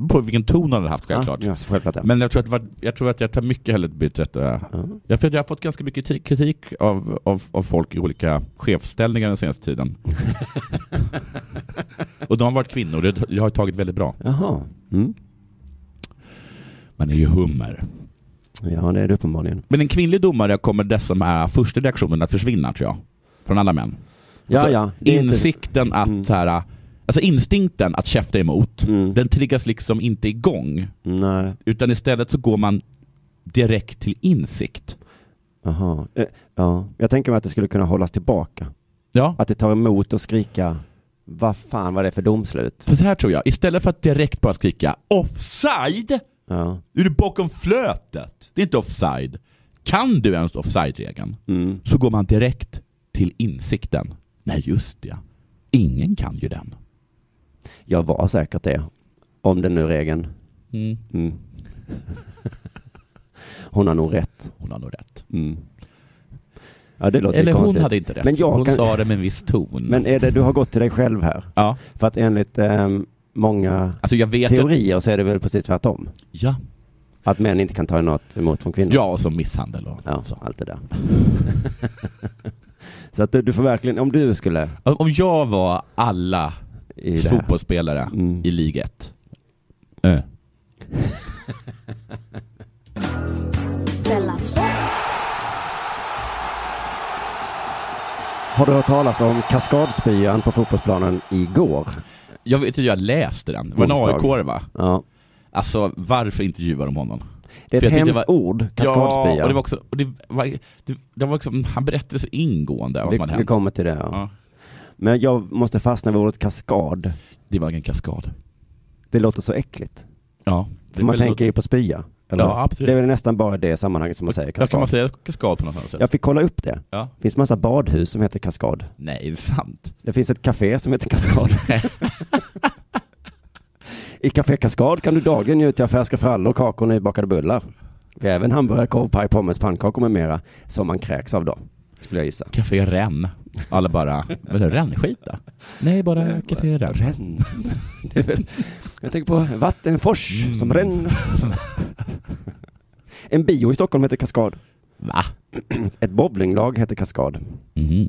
Speaker 6: På vilken ton han hade haft självklart.
Speaker 5: Ja, Ja, så självklart ja.
Speaker 6: Men jag tror, att, det var- jag tror att jag tar mycket hellre blir tillrätta. Jag, för jag har fått ganska mycket kritik, kritik av, av, av folk i olika chefsställningar den senaste tiden. och de har varit kvinnor, det jag har tagit väldigt bra.
Speaker 5: Jaha. Mm.
Speaker 6: Man är ju hummer.
Speaker 5: Ja, det är det uppenbarligen.
Speaker 6: Men en kvinnlig domare kommer dessa här första reaktionerna att försvinna tror jag. Från alla män.
Speaker 5: Ja,
Speaker 6: Så
Speaker 5: ja. det är inte- Mm.
Speaker 6: Insikten att så här, alltså instinkten att käfta emot, den triggas liksom inte igång.
Speaker 5: Nej,
Speaker 6: Utan istället så går man direkt till insikt.
Speaker 5: jaha. Eh, Ja, jag tänker mig att det skulle kunna hållas tillbaka.
Speaker 6: Ja,
Speaker 5: Att det tar emot att skrika, vad fan var det för domslut?
Speaker 6: För så här tror jag, istället för att direkt bara skrika offside,
Speaker 5: Ja,
Speaker 6: är du bakom flötet? Det är inte offside. Kan du ens offside-regeln?
Speaker 5: mm.
Speaker 6: Så går man direkt till insikten. Nej, just det. Ingen kan ju den.
Speaker 5: jag var säkert det. Om det nu är regeln. Mm. Hon har nog rätt.
Speaker 6: Hon har nog rätt.
Speaker 5: Mm. Ja, det låter
Speaker 6: Eller
Speaker 5: konstigt.
Speaker 6: hon hade inte rätt.
Speaker 5: Men jag
Speaker 6: hon
Speaker 5: kan-
Speaker 6: sa det med en viss ton.
Speaker 5: Men är det, du har gått till dig själv här?
Speaker 6: Ja,
Speaker 5: För att enligt ehm, många
Speaker 6: alltså jag vet att...
Speaker 5: teorier så är det väl precis tvärtom?
Speaker 6: Ja.
Speaker 5: Att män inte kan ta något emot från kvinnor?
Speaker 6: ja, och så misshandel och
Speaker 5: Ja,
Speaker 6: så.
Speaker 5: allt det där. så att du, du får verkligen, om du skulle
Speaker 6: Om om jag var alla
Speaker 5: i det här.
Speaker 6: fotbollsspelare
Speaker 5: Mm.
Speaker 6: i Liga 1. Ö.
Speaker 4: Della Sport.
Speaker 5: Har du hört talas om kaskadspyan på fotbollsplanen igår?
Speaker 6: Jag vet inte, jag läste den. Det var en
Speaker 5: Onsdag.
Speaker 6: AIK va?
Speaker 5: Ja.
Speaker 6: Alltså varför intervjuar de honom?
Speaker 5: Det är
Speaker 6: För
Speaker 5: ett
Speaker 6: jag tyckte
Speaker 5: hemskt
Speaker 6: det
Speaker 5: ord, kaskadspya.
Speaker 6: Ja, och det var också, och det var, det, det var också, han berättade så ingående vad som hade
Speaker 5: vi, vi
Speaker 6: hänt.
Speaker 5: kommer till det. Ja.
Speaker 6: Ja.
Speaker 5: Men jag måste fastna vid ordet kaskad.
Speaker 6: Det var en kaskad.
Speaker 5: Det låter så äckligt.
Speaker 6: Ja.
Speaker 5: För man tänker ju på spya. Eller?
Speaker 6: Ja, absolut.
Speaker 5: Det är väl nästan bara det sammanhanget som man säger
Speaker 6: Ja,
Speaker 5: kaskad.
Speaker 6: kan man säga kaskad på något annat sätt?
Speaker 5: Jag fick kolla upp det.
Speaker 6: Ja.
Speaker 5: Det finns massa badhus som heter kaskad.
Speaker 6: Nej, det är sant.
Speaker 5: Det finns ett café som heter Kaskad. I Café Kaskad kan du dagligen njuta av färska frallor, kakor och nybakade bullar. Vi har även hamburgare, korvpaj, pommes, pannkakor med mera som man kräks av då, skulle jag gissa.
Speaker 6: Café Renn. Alla bara, vadå rännskit då? Nej, bara Café Renn.
Speaker 5: Ränn. Det är väl- Jag tänker på vattenfors som ränner. En bio i Stockholm heter Kaskad.
Speaker 6: Va?
Speaker 5: Ett bowlinglag heter Kaskad.
Speaker 6: Mhm.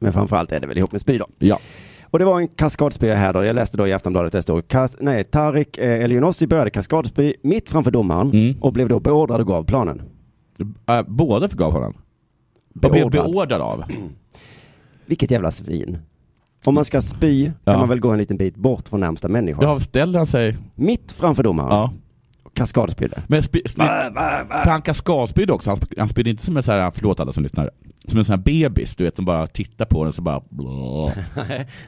Speaker 5: Men framförallt är det väl ihop med spy då.
Speaker 6: Ja.
Speaker 5: Och det var en kaskadspya här då. Jag läste då i Aftonbladet, det stod kas- nej, Tarik eh, Elionossi började kaskadspy mitt framför domaren
Speaker 6: Mm.
Speaker 5: och blev då beordrad att gå av planen.
Speaker 6: Äh, båda fick av honom? Vad blev beordrad av?
Speaker 5: Vilket jävla svin. Om man ska spy
Speaker 6: Ja.
Speaker 5: kan man väl gå en liten bit bort från närmsta människa.
Speaker 6: Ja, ställde han sig?
Speaker 5: Mitt framför domaren,
Speaker 6: Ja.
Speaker 5: kaskadspydde.
Speaker 6: Men sp- sp- för han kaskadspydde också, han, sp- han spydde inte som en sån här, förlåt alla som lyssnar, som en sån här bebis du vet som bara tittar på den och så bara blå.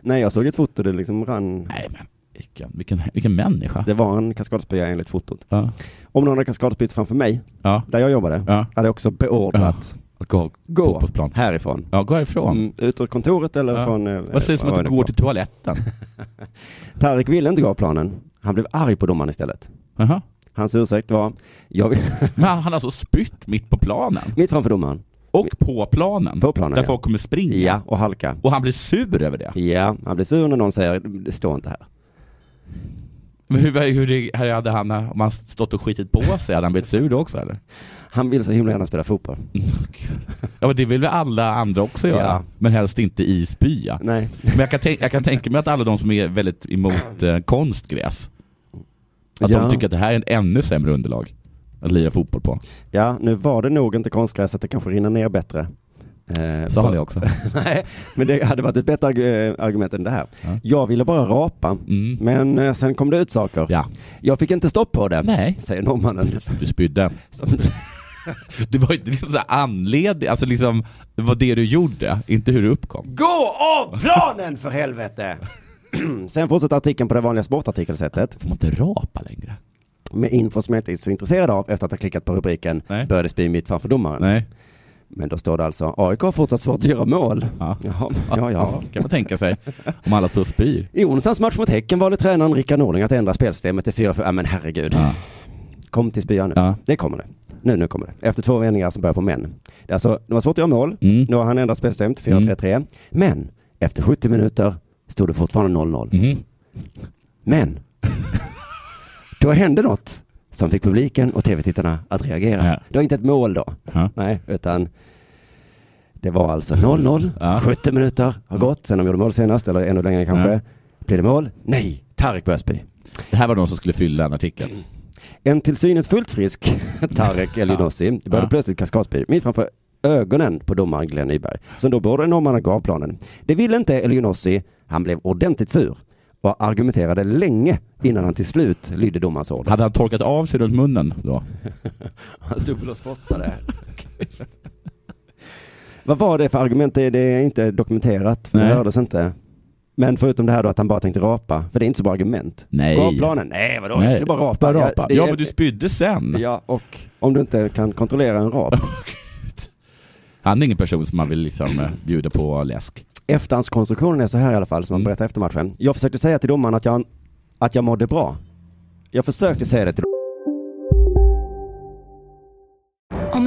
Speaker 5: Nej, jag såg ett foto där det liksom rann.
Speaker 6: Nej men vilken, vilken, vilken människa.
Speaker 5: Det var en kaskadspya enligt fotot.
Speaker 6: Ja.
Speaker 5: Om någon hade kaskadspytt framför mig,
Speaker 6: Ja.
Speaker 5: där jag jobbade,
Speaker 6: Ja.
Speaker 5: hade jag också beordrat
Speaker 6: Och gå,
Speaker 5: Gå.
Speaker 6: på, på plan.
Speaker 5: Härifrån.
Speaker 6: Ja, gå härifrån.
Speaker 5: Mm, ut ur kontoret eller
Speaker 6: Ja.
Speaker 5: från... eh,
Speaker 6: Vad sägs om
Speaker 5: vad
Speaker 6: att
Speaker 5: var
Speaker 6: du
Speaker 5: det
Speaker 6: går
Speaker 5: för-
Speaker 6: till toaletten?
Speaker 5: Tarek ville inte gå av planen. Han blev arg på domaren istället.
Speaker 6: Jaha.
Speaker 5: Hans ursäkt var, jag vill...
Speaker 6: Men han har alltså spytt mitt på planen.
Speaker 5: Mitt framför domaren.
Speaker 6: Och på planen.
Speaker 5: På planen,
Speaker 6: Mm. Där
Speaker 5: ja.
Speaker 6: folk kommer springa.
Speaker 5: Ja, och halka.
Speaker 6: Och han blir sur över det.
Speaker 5: Ja, han blir sur när någon säger, det står inte här.
Speaker 6: Men hur, hur det, här hade han, om han stått och skitit på sig, hade han blivit sur då också eller?
Speaker 5: Han vill så himla gärna spela fotboll.
Speaker 6: Mm. Ja men det vill väl alla andra också göra.
Speaker 5: Ja.
Speaker 6: Men helst inte i spya.
Speaker 5: Nej.
Speaker 6: Men jag kan, tänk, jag kan tänka mig att alla de som är väldigt emot eh, konstgräs, att
Speaker 5: ja.
Speaker 6: de tycker att det här är en ännu sämre underlag att lira fotboll på.
Speaker 5: ja, nu var det nog inte konstgräs att det kanske rinner ner bättre. Eh,
Speaker 6: Sa
Speaker 5: på-
Speaker 6: han det också?
Speaker 5: Nej, men det hade varit ett bättre arg- eh, argument än det här.
Speaker 6: Ja.
Speaker 5: Jag ville bara rapa,
Speaker 6: Mm.
Speaker 5: men eh, sen kom det ut saker.
Speaker 6: Ja.
Speaker 5: Jag fick inte stopp på det,
Speaker 6: Nej.
Speaker 5: säger norrmannen.
Speaker 6: Du spydde. Det var ju inte liksom så här anledning, alltså liksom, det var det du gjorde, inte hur det uppkom.
Speaker 5: Gå av planen för helvete! sen fortsätter artikeln på det vanliga sportartikelsättet.
Speaker 6: Får man inte rapa längre?
Speaker 5: med info som jag inte är så intresserad av efter att ha klickat på rubriken
Speaker 6: Nej.
Speaker 5: började spy mitt framför domaren.
Speaker 6: Nej.
Speaker 5: Men då står det alltså AIK har fortsatt svårt att göra mål.
Speaker 6: Ja.
Speaker 5: Jaha, ja, ja.
Speaker 6: Kan man tänka sig. Om alla står och spyr.
Speaker 5: I onsdagens match mot Häcken valde tränaren Rickard Norling att ändra spelsystemet till 4-4. Ja men herregud.
Speaker 6: Ja.
Speaker 5: Kom till spyan nu.
Speaker 6: Ja.
Speaker 5: Det kommer det. Nu, nu kommer det. Efter två vändningar som börjar på män. Det är alltså, det var svårt att göra mål.
Speaker 6: Mm.
Speaker 5: Nu har han ändrat spelsystemet till 4-3-3. Men efter 70 minuter stod det fortfarande 0-0.
Speaker 6: Mhm.
Speaker 5: Men då hände något som fick publiken och tv-tittarna att reagera.
Speaker 6: Ja.
Speaker 5: Det var inte ett mål då,
Speaker 6: Ja.
Speaker 5: nej, utan det var alltså 0-0,
Speaker 6: Ja.
Speaker 5: 70 minuter har gått, sen de gjorde mål senast, eller ännu längre kanske.
Speaker 6: Ja.
Speaker 5: Blir det mål? Nej, Tarek börjar spy.
Speaker 6: Det här var de som skulle fylla den artikeln.
Speaker 5: En till synes fullt frisk Tarek El Younossi började
Speaker 6: Ja.
Speaker 5: plötsligt kaskadspy mitt framför ögonen på domaren Glenn Nyberg, som då borde norrmannen och gav planen. Det ville inte El Younossi, han blev ordentligt sur och argumenterade länge innan han till slut lydde domarens order.
Speaker 6: Hade han torkat av sig runt munnen då?
Speaker 5: Han stod väl och spottade. Vad var det för argument? Det det är inte dokumenterat, för det
Speaker 6: Nej.
Speaker 5: hördes inte. Men förutom det här då att han bara tänkte rapa, för det är inte så bra argument.
Speaker 6: Nej.
Speaker 5: Gå av planen. Nej, vadå? Jag skulle bara rapa.
Speaker 6: Bara rapa.
Speaker 5: det
Speaker 6: Ja,
Speaker 5: är-
Speaker 6: men du spydde sen.
Speaker 5: Ja, och om du inte kan kontrollera en rap.
Speaker 6: Han är ingen person som man vill liksom eh, bjuda på läsk.
Speaker 5: Efterhandskonstruktionen är så här i alla fall,
Speaker 6: Mm.
Speaker 5: som man berättar efter matchen. Jag försökte säga till domaren att jag, att jag mådde bra. Jag försökte säga det till
Speaker 7: Om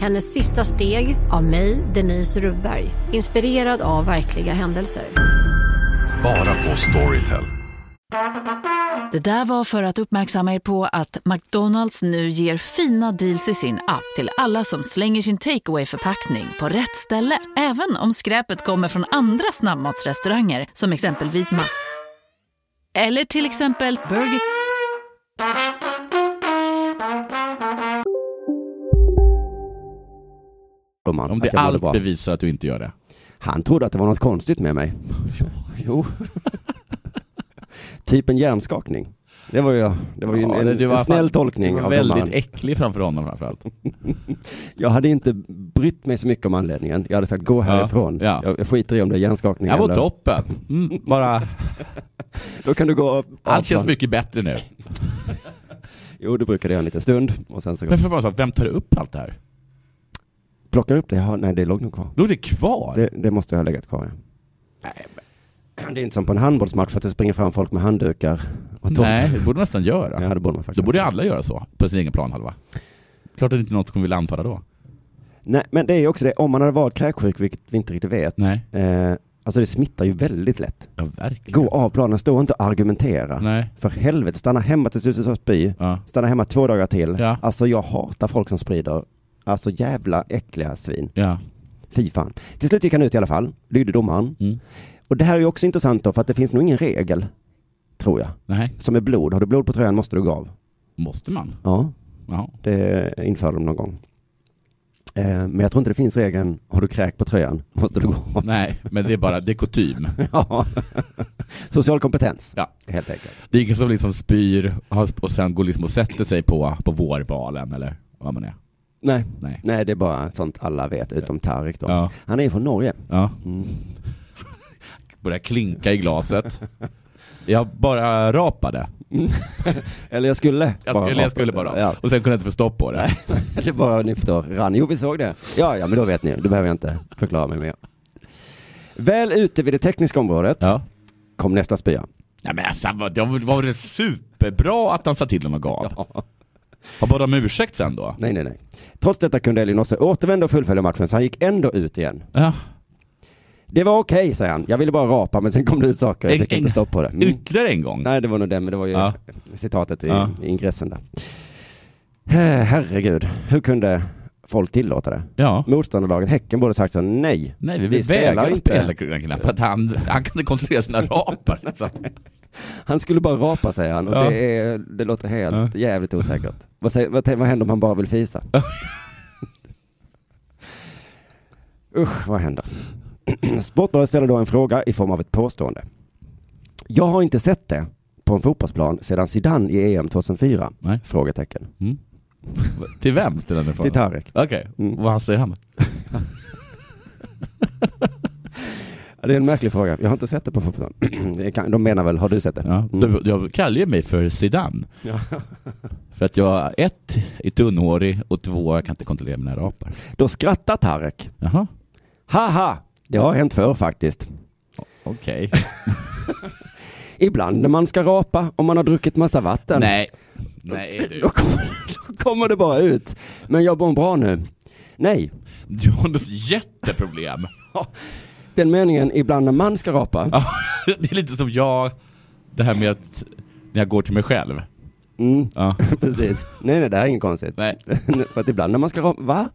Speaker 8: Hennes sista steg av mig, Denise Rubberg. Inspirerad av verkliga händelser.
Speaker 9: Bara på Storytel.
Speaker 10: Det där var för att uppmärksamma er på att McDonalds nu ger fina deals i sin app till alla som slänger sin takeaway förpackning på rätt ställe. Även om skräpet kommer från andra snabbmatsrestauranger som exempelvis Ma... Eller till exempel Burger...
Speaker 5: domaren
Speaker 6: Om det
Speaker 5: att jag mådde
Speaker 6: allt
Speaker 5: bra.
Speaker 6: bevisar att du inte gör det.
Speaker 5: Han trodde att det var något konstigt med mig. Jo. typ en hjärnskakning. Det var ju, det var ju
Speaker 6: Ja,
Speaker 5: en,
Speaker 6: det- det var
Speaker 5: en snäll
Speaker 6: fan-
Speaker 5: tolkning
Speaker 6: du var
Speaker 5: av
Speaker 6: Väldigt
Speaker 5: domaren.
Speaker 6: äcklig framför honom framförallt.
Speaker 5: Jag hade inte brytt mig så mycket om anledningen. Jag hade sagt gå härifrån.
Speaker 6: ja.
Speaker 5: Jag, jag skiter i om det är hjärnskakning
Speaker 6: Jag var
Speaker 5: eller...
Speaker 6: toppen. Mm, bara,
Speaker 5: Då kan du gå upp.
Speaker 6: allt känns mycket bättre nu.
Speaker 5: Jo, du brukar det göra en liten stund och sen så
Speaker 6: Men för fan, så, vem tar upp allt det här?
Speaker 5: plockar upp det. Jaha, nej, det låg nog kvar.
Speaker 6: Låg det kvar?
Speaker 5: Det, det måste jag ha legat kvar, ja. Det är inte som på en handbollsmatch för att det springer fram folk med handdukar och torkar.
Speaker 6: Nej, det borde man nästan göra.
Speaker 5: Ja, det borde
Speaker 6: Då
Speaker 5: man faktiskt.
Speaker 6: borde ju alla göra så, på sin egen planhalva. Klart att inte något kommer vilja anfalla då.
Speaker 5: Nej, men det är ju också det, om man hade varit kräksjuk, vilket vi inte riktigt vet.
Speaker 6: Nej.
Speaker 5: Eh, alltså det smittar ju väldigt lätt.
Speaker 6: Ja, verkligen.
Speaker 5: Gå av planen, stå inte och argumentera.
Speaker 6: Nej.
Speaker 5: För helvete, stanna hemma tills du ska spy.
Speaker 6: Ja.
Speaker 5: Stanna hemma två dagar till.
Speaker 6: Ja.
Speaker 5: Alltså jag hatar folk som sprider, alltså jävla äckliga svin.
Speaker 6: Ja.
Speaker 5: Fy fan. Till slut gick han ut i alla fall, lydde domaren.
Speaker 6: Mm.
Speaker 5: Och det här är ju också intressant då, för att det finns nog ingen regel, tror jag,
Speaker 6: Nej,
Speaker 5: som är blod. Har du blod på tröjan måste du gå av.
Speaker 6: måste man?
Speaker 5: Ja,
Speaker 6: Jaha.
Speaker 5: det införde de någon gång. Eh, Men jag tror inte det finns regeln, har du kräk på tröjan måste du gå.
Speaker 6: Nej, men det är bara, det är kutym.
Speaker 5: ja. Social kompetens,
Speaker 6: ja.
Speaker 5: helt enkelt.
Speaker 6: Det är ingen som liksom spyr har- och sen går liksom och sätter sig på, på vårbalen eller vad man är.
Speaker 5: Nej.
Speaker 6: Nej.
Speaker 5: Nej, det är bara sånt alla vet, utom Tarek då.
Speaker 6: Ja.
Speaker 5: Han är från Norge.
Speaker 6: Ja.
Speaker 5: Mm.
Speaker 6: Börjar klinka i glaset. Jag bara rapade.
Speaker 5: Eller jag skulle.
Speaker 6: Jag skulle, jag skulle bara.
Speaker 5: Ja.
Speaker 6: Och sen kunde jag inte få stopp på det.
Speaker 5: Det bara ni förstår, rann. Jo, vi såg det. Ja, ja, men då vet ni. Då behöver jag inte förklara mig mer. Väl ute vid det tekniska området kom nästa spya.
Speaker 6: Nej men alltså, vad- det var, var det superbra att han sa till honom och gav? Har bara om ursäkt sen då?
Speaker 5: Nej, nej, nej. Trots detta kunde Elinosse återvända och fullfölja matchen, så han gick ändå ut igen.
Speaker 6: Ja.
Speaker 5: Det var okej, säger han. Jag ville bara rapa, men sen kom det ut saker. Jag
Speaker 6: En-
Speaker 5: fick inte
Speaker 6: en-
Speaker 5: stopp på det. Mm.
Speaker 6: Ytterligare en gång?
Speaker 5: Nej, det var nog den, men det var ju
Speaker 6: Ja.
Speaker 5: citatet i,
Speaker 6: Ja.
Speaker 5: i ingressen där. Eh, Herregud, hur kunde folk tillåta det?
Speaker 6: Ja.
Speaker 5: Motståndarlaget Häcken borde sagt så nej.
Speaker 6: Nej, vi, vi vägrar inte. spela Kronenkinna för att han, han kan inte kontrollera sina rapar. Liksom.
Speaker 5: Han skulle bara rapa säger han och
Speaker 6: Ja.
Speaker 5: det, är, det låter helt jävligt osäkert. Vad, säger, vad, tän- vad händer om han bara vill fisa? Usch, vad händer? Sportbladet ställer då en fråga i form av ett påstående. Jag har inte sett det på en fotbollsplan sedan Zidane i EM 2004? Frågetecken.
Speaker 6: Mm. Till vem ställer han den frågan?
Speaker 5: Till Tarek.
Speaker 6: Okej, vad säger han?
Speaker 5: Ja, Det är en märklig fråga. Jag har inte sett det på fotbollsplan. Det kan- De menar väl, har du sett det?
Speaker 6: Ja. Du, jag kallar ju mig för Zidane.
Speaker 5: Ja.
Speaker 6: För att jag, ett, är tunnhårig och två, jag kan inte kontrollera mina rapar.
Speaker 5: Då skrattar Tarek.
Speaker 6: Jaha.
Speaker 5: Haha, det har hänt förr faktiskt.
Speaker 6: Okej.
Speaker 5: Ibland när man ska rapa om man har druckit massa vatten.
Speaker 6: Nej. Nej du.
Speaker 5: Då kommer, då kommer det bara ut. Men jag mår bra nu. Nej,
Speaker 6: Du har något jätteproblem.
Speaker 5: den meningen ibland när man ska rapa.
Speaker 6: det är lite som jag, det här med att när jag går till mig själv.
Speaker 5: Mm.
Speaker 6: Ja.
Speaker 5: Precis. Nej, nej, det här är inget konstigt.
Speaker 6: Nej.
Speaker 5: För att ibland när man ska rapa, va?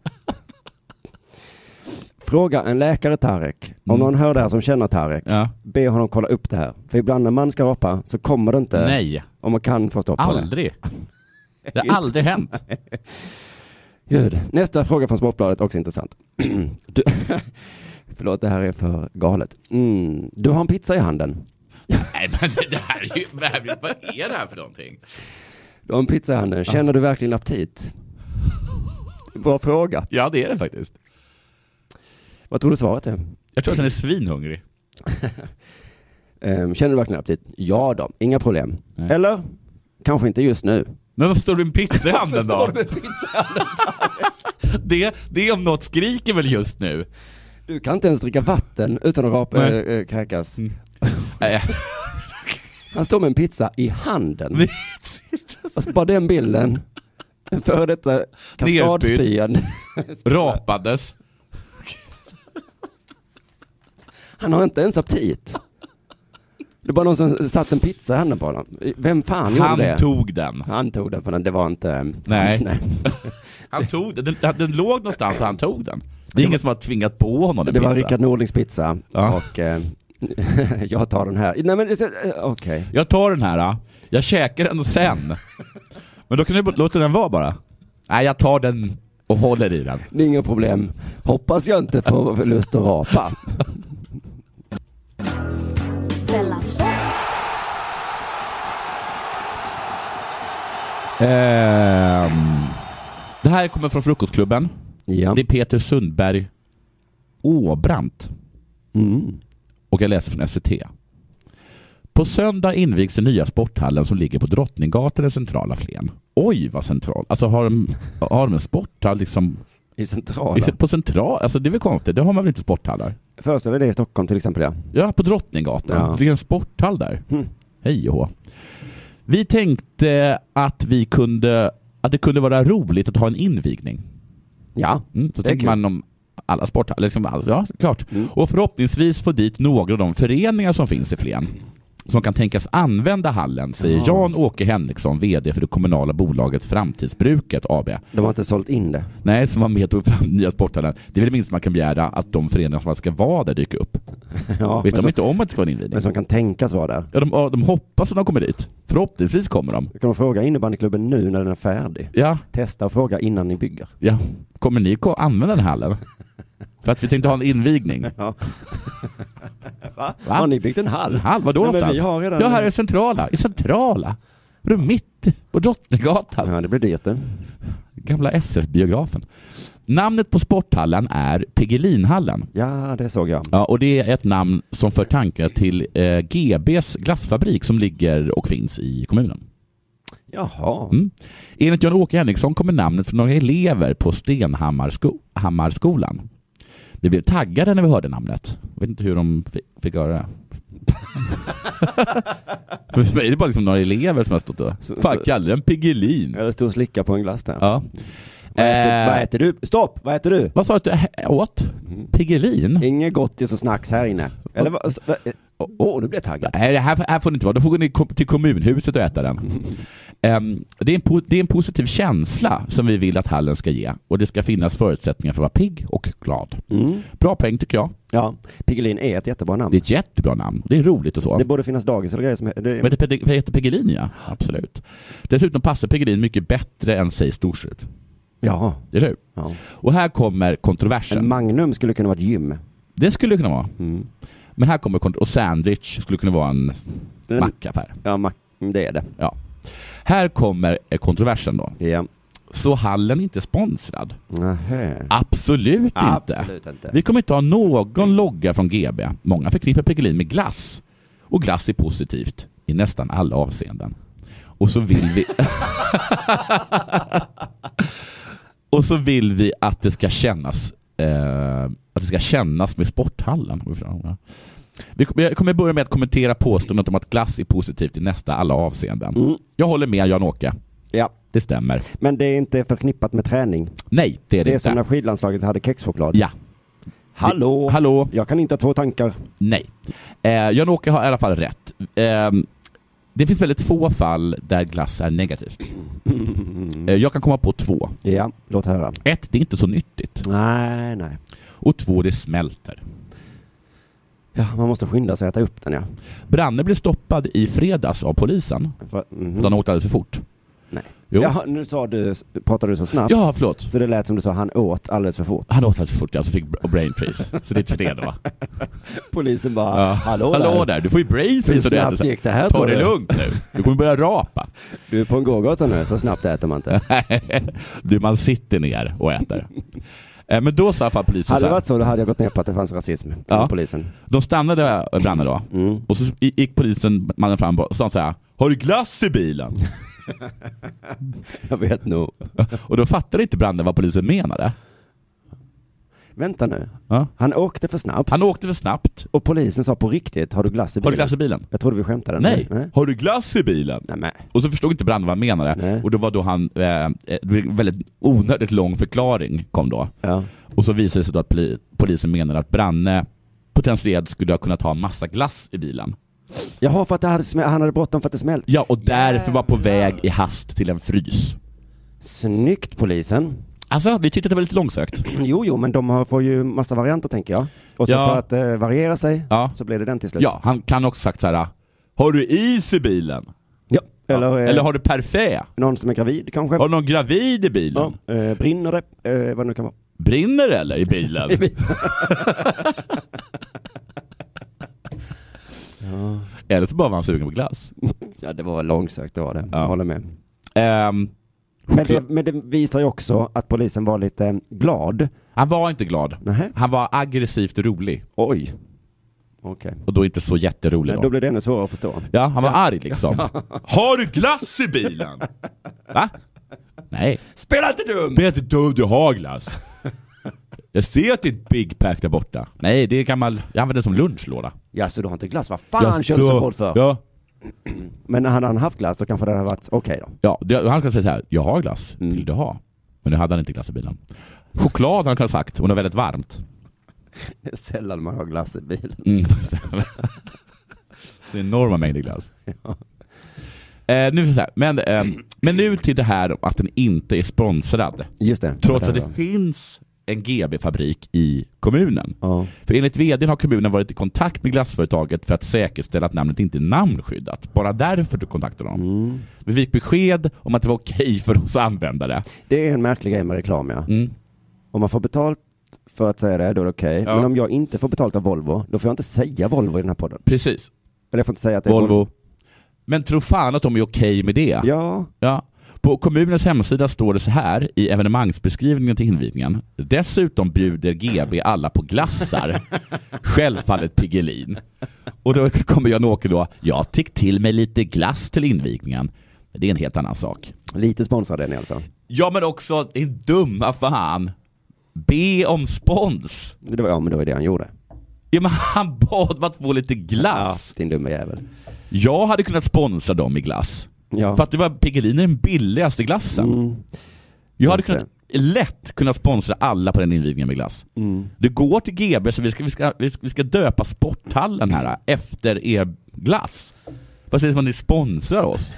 Speaker 5: Fråga en läkare Tarek, om
Speaker 6: Mm.
Speaker 5: någon hör det här som känner Tarek, be honom kolla upp det här. För ibland när man ska rapa så kommer det inte.
Speaker 6: Nej.
Speaker 5: Om man kan få stopp på det.
Speaker 6: Aldrig. Det har aldrig hänt.
Speaker 5: Gud. Nästa fråga från Sportbladet, också intressant. Du, förlåt, det här är för galet. Mm, du har en pizza i handen.
Speaker 6: Nej men det här är ju, vad är det här för någonting?
Speaker 5: Du har en pizza i handen. Känner du verkligen aptit? Bra fråga.
Speaker 6: Ja det är det faktiskt.
Speaker 5: Vad tror du svaret är?
Speaker 6: Jag tror att han är svinhungrig.
Speaker 5: Ehm, Känner du verkligen aptit? Ja då, inga problem. Eller? Kanske inte just nu.
Speaker 6: Men varför står du med en pizza i handen
Speaker 5: Varför
Speaker 6: då?
Speaker 5: står du med en pizza i handen?
Speaker 6: Det, det om något skriker väl just nu?
Speaker 5: Du kan inte ens dricka vatten utan att rapa,
Speaker 6: Nej. Mm.
Speaker 5: äh, äh, kräkas. Han står med en pizza i handen. alltså bara den bilden. En före detta kaskadspyan.
Speaker 6: Rapades.
Speaker 5: Han har inte ens aptit. Det var någon som satt en pizza i handen på honom. Vem fan
Speaker 6: Han
Speaker 5: gjorde det?
Speaker 6: tog den.
Speaker 5: Han tog den för den, det var inte eh,
Speaker 6: Nej.
Speaker 5: hans, nej.
Speaker 6: Han tog den. den, den låg någonstans och han tog den. Det är ingen som har tvingat på honom en
Speaker 5: Det var
Speaker 6: pizza.
Speaker 5: Rickard Nordlings pizza och eh, jag tar den här. Nej men det- eh, okej.
Speaker 6: Jag tar den här, ah. jag käkar den sen. Men då kan du bara- låta den vara bara. Nej, jag tar den och håller i den.
Speaker 5: Det är inga problem. Hoppas jag inte får lust att rapa.
Speaker 4: Della Sport.
Speaker 6: Ehm, det här kommer från Frukostklubben. Det är Peter Sundberg Åbrant.
Speaker 5: Mm.
Speaker 6: Och jag läser från SVT. På söndag invigs den nya sporthallen som ligger på Drottninggatan i centrala Flen. Oj, vad central. Alltså har de, har de en sporthall liksom...
Speaker 5: I centrala?
Speaker 6: På central? Alltså det är väl konstigt? Det har man väl inte sporthallar?
Speaker 5: Föreställ dig det i Stockholm till exempel ja.
Speaker 6: Ja, på Drottninggatan.
Speaker 5: Ja.
Speaker 6: Det ligger en sporthall där. Hej och hå. Vi tänkte att vi kunde att det kunde vara roligt att ha en invigning.
Speaker 5: Ja,
Speaker 6: mm, Så
Speaker 5: det är
Speaker 6: tänker
Speaker 5: kul.
Speaker 6: man om alla sporthallar. Liksom all, ja, klart. Och förhoppningsvis få dit några av de föreningar som finns i Flen. som kan tänkas använda hallen, säger
Speaker 5: Ja,
Speaker 6: Jan-Åke Henriksson, VD för det kommunala bolaget Framtidsbruket AB.
Speaker 5: De har inte sålt in det.
Speaker 6: Nej, som var med och tog fram nya sporthallen. Det är väl det minsta man kan begära att de föreningar som ska vara där dyker upp.
Speaker 5: Ja,
Speaker 6: Vet
Speaker 5: men
Speaker 6: de
Speaker 5: som-
Speaker 6: inte om att det ska vara en invigning?
Speaker 5: Men som kan tänkas vara där.
Speaker 6: Ja, de, ja, de hoppas att de kommer dit. Förhoppningsvis kommer de.
Speaker 5: Kan de fråga innebandyklubben nu när den är färdig?
Speaker 6: Ja.
Speaker 5: Testa och fråga innan ni bygger.
Speaker 6: Ja. Kommer ni ko- använda den här hallen? För att vi tänkte ha en invigning.
Speaker 5: Ja. Va?
Speaker 6: Va?
Speaker 5: Har ni byggt en hall?
Speaker 6: En hall? Vadå
Speaker 5: Nej, men
Speaker 6: någonstans?
Speaker 5: vi har redan
Speaker 6: Ja, här är centrala. I centrala? Vadå mitt på Drottninggatan?
Speaker 5: Ja, det blir dyrt det.
Speaker 6: Gamla SF-biografen. Namnet på sporthallen är Piggelinhallen.
Speaker 5: Ja, det såg jag.
Speaker 6: Ja, och det är ett namn som för tankar till eh, GBs glassfabrik som ligger och finns i kommunen.
Speaker 5: Jaha.
Speaker 6: Mm. Enligt Jan-Åke Henriksson kommer namnet från några elever på Stenhammarskolan. Vi blev taggade när vi hörde namnet. Jag vet inte hur de fi- fick höra det. För mig är det bara liksom några elever som har stått och... Fan, kallar den Piggelin?
Speaker 5: Eller stod och slickade på en glass där.
Speaker 6: Ja.
Speaker 5: Vad, äter,
Speaker 6: Eh.
Speaker 5: vad äter du? Stopp! Vad äter du?
Speaker 6: Vad sa du att du ä- åt? Piggelin?
Speaker 5: Inget gottis och snacks här inne. Eller vad? s- vad- eh, Åh, nu blir jag taggad.
Speaker 6: Nej, det här, här får ni inte vara. Då får ni kom- till kommunhuset och äta den. Ehm, det, är en po- det är en positiv känsla som vi vill att hallen ska ge och det ska finnas förutsättningar för att vara pigg och glad. Bra peng tycker jag.
Speaker 5: Ja, Piggelin är ett jättebra namn.
Speaker 6: Det är ett jättebra namn. Det är roligt och så.
Speaker 5: Det borde finnas dagis eller grejer som he- det,
Speaker 6: Men det pe- heter Piggelin, ja. Absolut. Dessutom passar Piggelin mycket bättre än, säg, Storsjut.
Speaker 5: Jaha.
Speaker 6: Eller hur?
Speaker 5: Ja.
Speaker 6: Och här kommer kontroversen.
Speaker 5: En Magnum skulle kunna vara ett gym.
Speaker 6: det skulle det kunna vara. Men här kommer kont- Och sandwich skulle kunna vara en
Speaker 5: Den-
Speaker 6: mackaffär.
Speaker 5: Ja, mack- det är det.
Speaker 6: Ja. Här kommer eh, kontroversen då.
Speaker 5: Ja.
Speaker 6: Så hallen är inte sponsrad?
Speaker 5: Nähä.
Speaker 6: Absolut,
Speaker 5: Absolut
Speaker 6: inte.
Speaker 5: inte.
Speaker 6: Vi kommer inte ha någon logga från GB. Många förknippar Piggelin med glass. Och glass är positivt i nästan alla avseenden. Och så vill vi... och så vill vi att det ska kännas eh, att det ska kännas med sporthallen. Vi kom- Jag kommer börja med att kommentera påståendet om att glass är positivt i nästa alla avseenden. Jag håller med Jan-Åke.
Speaker 5: Mm. Ja.
Speaker 6: Det stämmer.
Speaker 5: Men det är inte förknippat med träning.
Speaker 6: Nej, det är det,
Speaker 5: Det är
Speaker 6: inte.
Speaker 5: som när skidlandslaget hade kexchoklad.
Speaker 6: Ja,
Speaker 5: Hallå!
Speaker 6: hallå.
Speaker 5: Jag kan inte ha två tankar.
Speaker 6: Nej. Eh, Jan-Åke har i alla fall rätt. Ehm, det finns väldigt få fall där glass är negativt. Eh, jag kan komma på två.
Speaker 5: Ja, låt höra.
Speaker 6: Ett, det är inte så nyttigt.
Speaker 5: Nej, nej.
Speaker 6: Och två, det smälter.
Speaker 5: Ja, man måste skynda sig att äta upp den ja.
Speaker 6: Branne blev stoppad i fredags av polisen.
Speaker 5: För, mhm.
Speaker 6: För han åkte alldeles för fort.
Speaker 5: Nej.
Speaker 6: Jo.
Speaker 5: Jaha, nu sa du, pratade du så snabbt.
Speaker 6: Ja, förlåt.
Speaker 5: Så det lät som du sa, han åt alldeles för fort.
Speaker 6: Han åt alldeles för fort, alltså fick br- brain freeze. Så det är tre då va?
Speaker 5: Polisen bara,
Speaker 6: Ja.
Speaker 5: hallå,
Speaker 6: Hallå
Speaker 5: där.
Speaker 6: där, du får ju brain
Speaker 5: Hur
Speaker 6: freeze och du
Speaker 5: snabbt
Speaker 6: äter så
Speaker 5: gick det här,
Speaker 6: Ta
Speaker 5: tror
Speaker 6: det
Speaker 5: du?
Speaker 6: lugnt nu. Du kommer börja rapa.
Speaker 5: Du är på en gågata nu, så snabbt äter man inte.
Speaker 6: du, man sitter ner och äter. Eh, Men då sa i alla fall polisen
Speaker 5: Hade
Speaker 6: så
Speaker 5: det
Speaker 6: här.
Speaker 5: varit så, då hade jag gått med på att det fanns rasism
Speaker 6: Ja.
Speaker 5: inom polisen.
Speaker 6: De stannade Branne eh, då och så gick polisen mannen fram och sa så här Har du glass i bilen?
Speaker 5: Jag vet nog.
Speaker 6: och då fattade inte Branne vad polisen menade.
Speaker 5: Vänta nu.
Speaker 6: Ja.
Speaker 5: Han åkte för snabbt
Speaker 6: Han åkte för snabbt.
Speaker 5: och polisen sa på riktigt, har du glass i bilen?
Speaker 6: Har du glass i bilen?
Speaker 5: Jag trodde vi skämtade.
Speaker 6: Nej.
Speaker 5: Nej.
Speaker 6: Har du glass i bilen?
Speaker 5: Nej, men.
Speaker 6: Och så förstod inte Branne vad han menade
Speaker 5: Nej.
Speaker 6: och då var då han, eh, eh, det blev en väldigt onödigt lång förklaring kom då.
Speaker 5: Ja.
Speaker 6: Och så visade det sig då att poli- polisen menade att Branne potentiellt skulle ha kunnat ha en massa glass i bilen.
Speaker 5: Jaha, för att det hade smä- han hade bråttom för att det smält.
Speaker 6: Ja, och därför var på väg i hast till en frys.
Speaker 5: Snyggt polisen.
Speaker 6: Alltså, vi tyckte att det var lite långsökt.
Speaker 5: Jo, jo, men de har, får ju massa varianter tänker jag. Och så
Speaker 6: Ja.
Speaker 5: för att eh, variera sig
Speaker 6: Ja.
Speaker 5: så blir det den till slut.
Speaker 6: Ja, han kan också sagt så här. Har du is i bilen?
Speaker 5: Ja. Eller, eh,
Speaker 6: Eller har du parfait?
Speaker 5: någon som är gravid kanske.
Speaker 6: Har du någon gravid i bilen?
Speaker 5: Ja. Eh, brinner det? Eh, vad det nu kan vara.
Speaker 6: Brinner det eller i bilen? Eller så bara var han sugen på glass.
Speaker 5: Ja, det var långsökt, det var det.
Speaker 6: Ja.
Speaker 5: Jag håller med.
Speaker 6: Ehm,
Speaker 5: Men det, men det visar ju också att polisen var lite eh, glad.
Speaker 6: han var inte glad.
Speaker 5: Nähä.
Speaker 6: Han var aggressivt rolig.
Speaker 5: Oj. Okej.
Speaker 6: Och då inte så jätterolig
Speaker 5: Då
Speaker 6: då.
Speaker 5: blir det ännu svårare att förstå.
Speaker 6: Ja, han var arg liksom. Har du glass i bilen? Va? Nej.
Speaker 5: Spela inte dum!
Speaker 6: Vet du dum, du har glass. Jag ser att det är ett Big Pack där borta. Nej, det är gammal... Jag använder det som lunchlåda.
Speaker 5: Ja, så du har inte glass? Vad fan kör du så fort för?
Speaker 6: Ja,
Speaker 5: Men hade han haft glass då kanske det hade varit okej då.
Speaker 6: Ja, det, han kan säga så här, jag har glass, vill du ha? Men nu hade han inte glass i bilen. Choklad hade han kunnat sagt, och det var väldigt varmt.
Speaker 5: Det är sällan man har glass i bilen.
Speaker 6: Mm. Det är enorma mängder glass. Eh, nu, är det så här, men, eh, men nu till det här att den inte är sponsrad.
Speaker 5: Just det.
Speaker 6: Trots att
Speaker 5: Det
Speaker 6: det
Speaker 5: var det.
Speaker 6: finns en GB-fabrik i kommunen. För enligt vdn har kommunen varit i kontakt med glassföretaget för att säkerställa att namnet inte är namnskyddat. Bara därför du kontaktade dem. Vi fick besked om att det var okej för oss användare.
Speaker 5: Det är en märklig grej med reklam ja.
Speaker 6: Mm.
Speaker 5: Om man får betalt för att säga det, då är det okej.
Speaker 6: Ja.
Speaker 5: Men om jag inte får betalt av Volvo, då får jag inte säga Volvo i den här podden.
Speaker 6: Precis.
Speaker 5: Eller jag får inte säga att det är
Speaker 6: Volvo. Men tro fan att de är okej med det.
Speaker 5: Ja.
Speaker 6: ja. På kommunens hemsida står det så här i evenemangsbeskrivningen till invigningen. Dessutom bjuder GB alla på glassar. Självfallet Piggelin. Och då kommer Jan-Åke då. Jag tick till mig lite glass till invigningen. Men Det är en helt annan sak.
Speaker 5: Lite sponsrad är ni alltså?
Speaker 6: Ja men också, din dumma fan. Be om spons.
Speaker 5: Det var, ja, men det var det han gjorde.
Speaker 6: Ja men han bad om att få lite glass.
Speaker 5: din dumma jävel.
Speaker 6: Jag hade kunnat sponsra dem i glass.
Speaker 5: Ja.
Speaker 6: För att det var Piggelin är den billigaste glassen. Jag hade kunnat, lätt kunnat sponsra alla på den invigningen med glass.
Speaker 5: Mm.
Speaker 6: Du går till GB så vi ska, vi ska, vi ska, vi ska döpa sporthallen här efter er glass. Vad sägs om att ni sponsrar oss?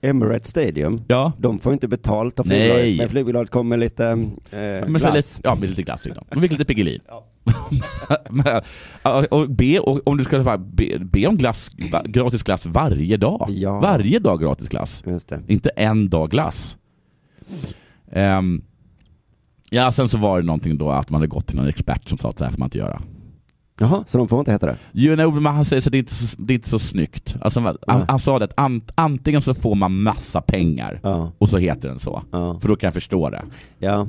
Speaker 5: Emirates Stadium,
Speaker 6: ja.
Speaker 5: de får inte betalt av
Speaker 6: Nej.
Speaker 5: flygbolaget. Men flygbolaget kommer med lite eh,
Speaker 6: Men så
Speaker 5: glass.
Speaker 6: lite, ja, med lite glass fick de. De fick lite Piggelin. Men, ja, och be, och om du ska vara- be, be om glass, va- gratis glass varje dag. Varje dag gratis glass. Inte en dag glass. Ehm, ja, sen så var det någonting då att man hade gått till någon expert som sa att så här får man inte göra.
Speaker 5: Jaha, så de får inte heta det?
Speaker 6: Jo, nej, men han säger så att det är inte så, det är inte så snyggt. Alltså, han, han, han sa det att an, antingen så får man massa pengar och så heter den så. För då kan jag förstå det.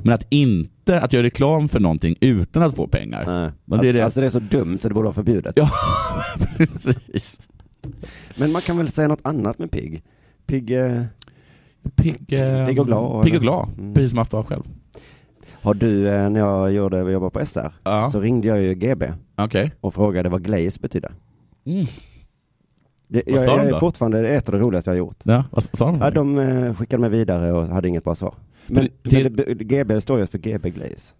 Speaker 6: Men att inte, att göra reklam för någonting utan att få pengar. Men det är
Speaker 5: alltså,
Speaker 6: det.
Speaker 5: alltså det är så dumt så det borde vara förbjudet.
Speaker 6: Ja, precis.
Speaker 5: Men man kan väl säga något annat med pigg? Pigg... Eh...
Speaker 6: Pigg, eh,
Speaker 5: pigg och glad.
Speaker 6: Pigg och
Speaker 5: eller? Mm.
Speaker 6: glad, precis som Afton själv.
Speaker 5: Har du, eh, när jag gjorde, jag jobbade på SR, så ringde jag ju GB och frågade vad glaze betyder.
Speaker 6: Mm.
Speaker 5: Det,
Speaker 6: Vad
Speaker 5: jag,
Speaker 6: sa de
Speaker 5: jag
Speaker 6: då?
Speaker 5: är fortfarande det är ett av det roligaste jag har gjort.
Speaker 6: Ja, vad sa de?
Speaker 5: Ja, de eh, skickade mig vidare och hade inget bra svar. Men,
Speaker 6: det-
Speaker 5: men det, GB står ju för GB Glaze.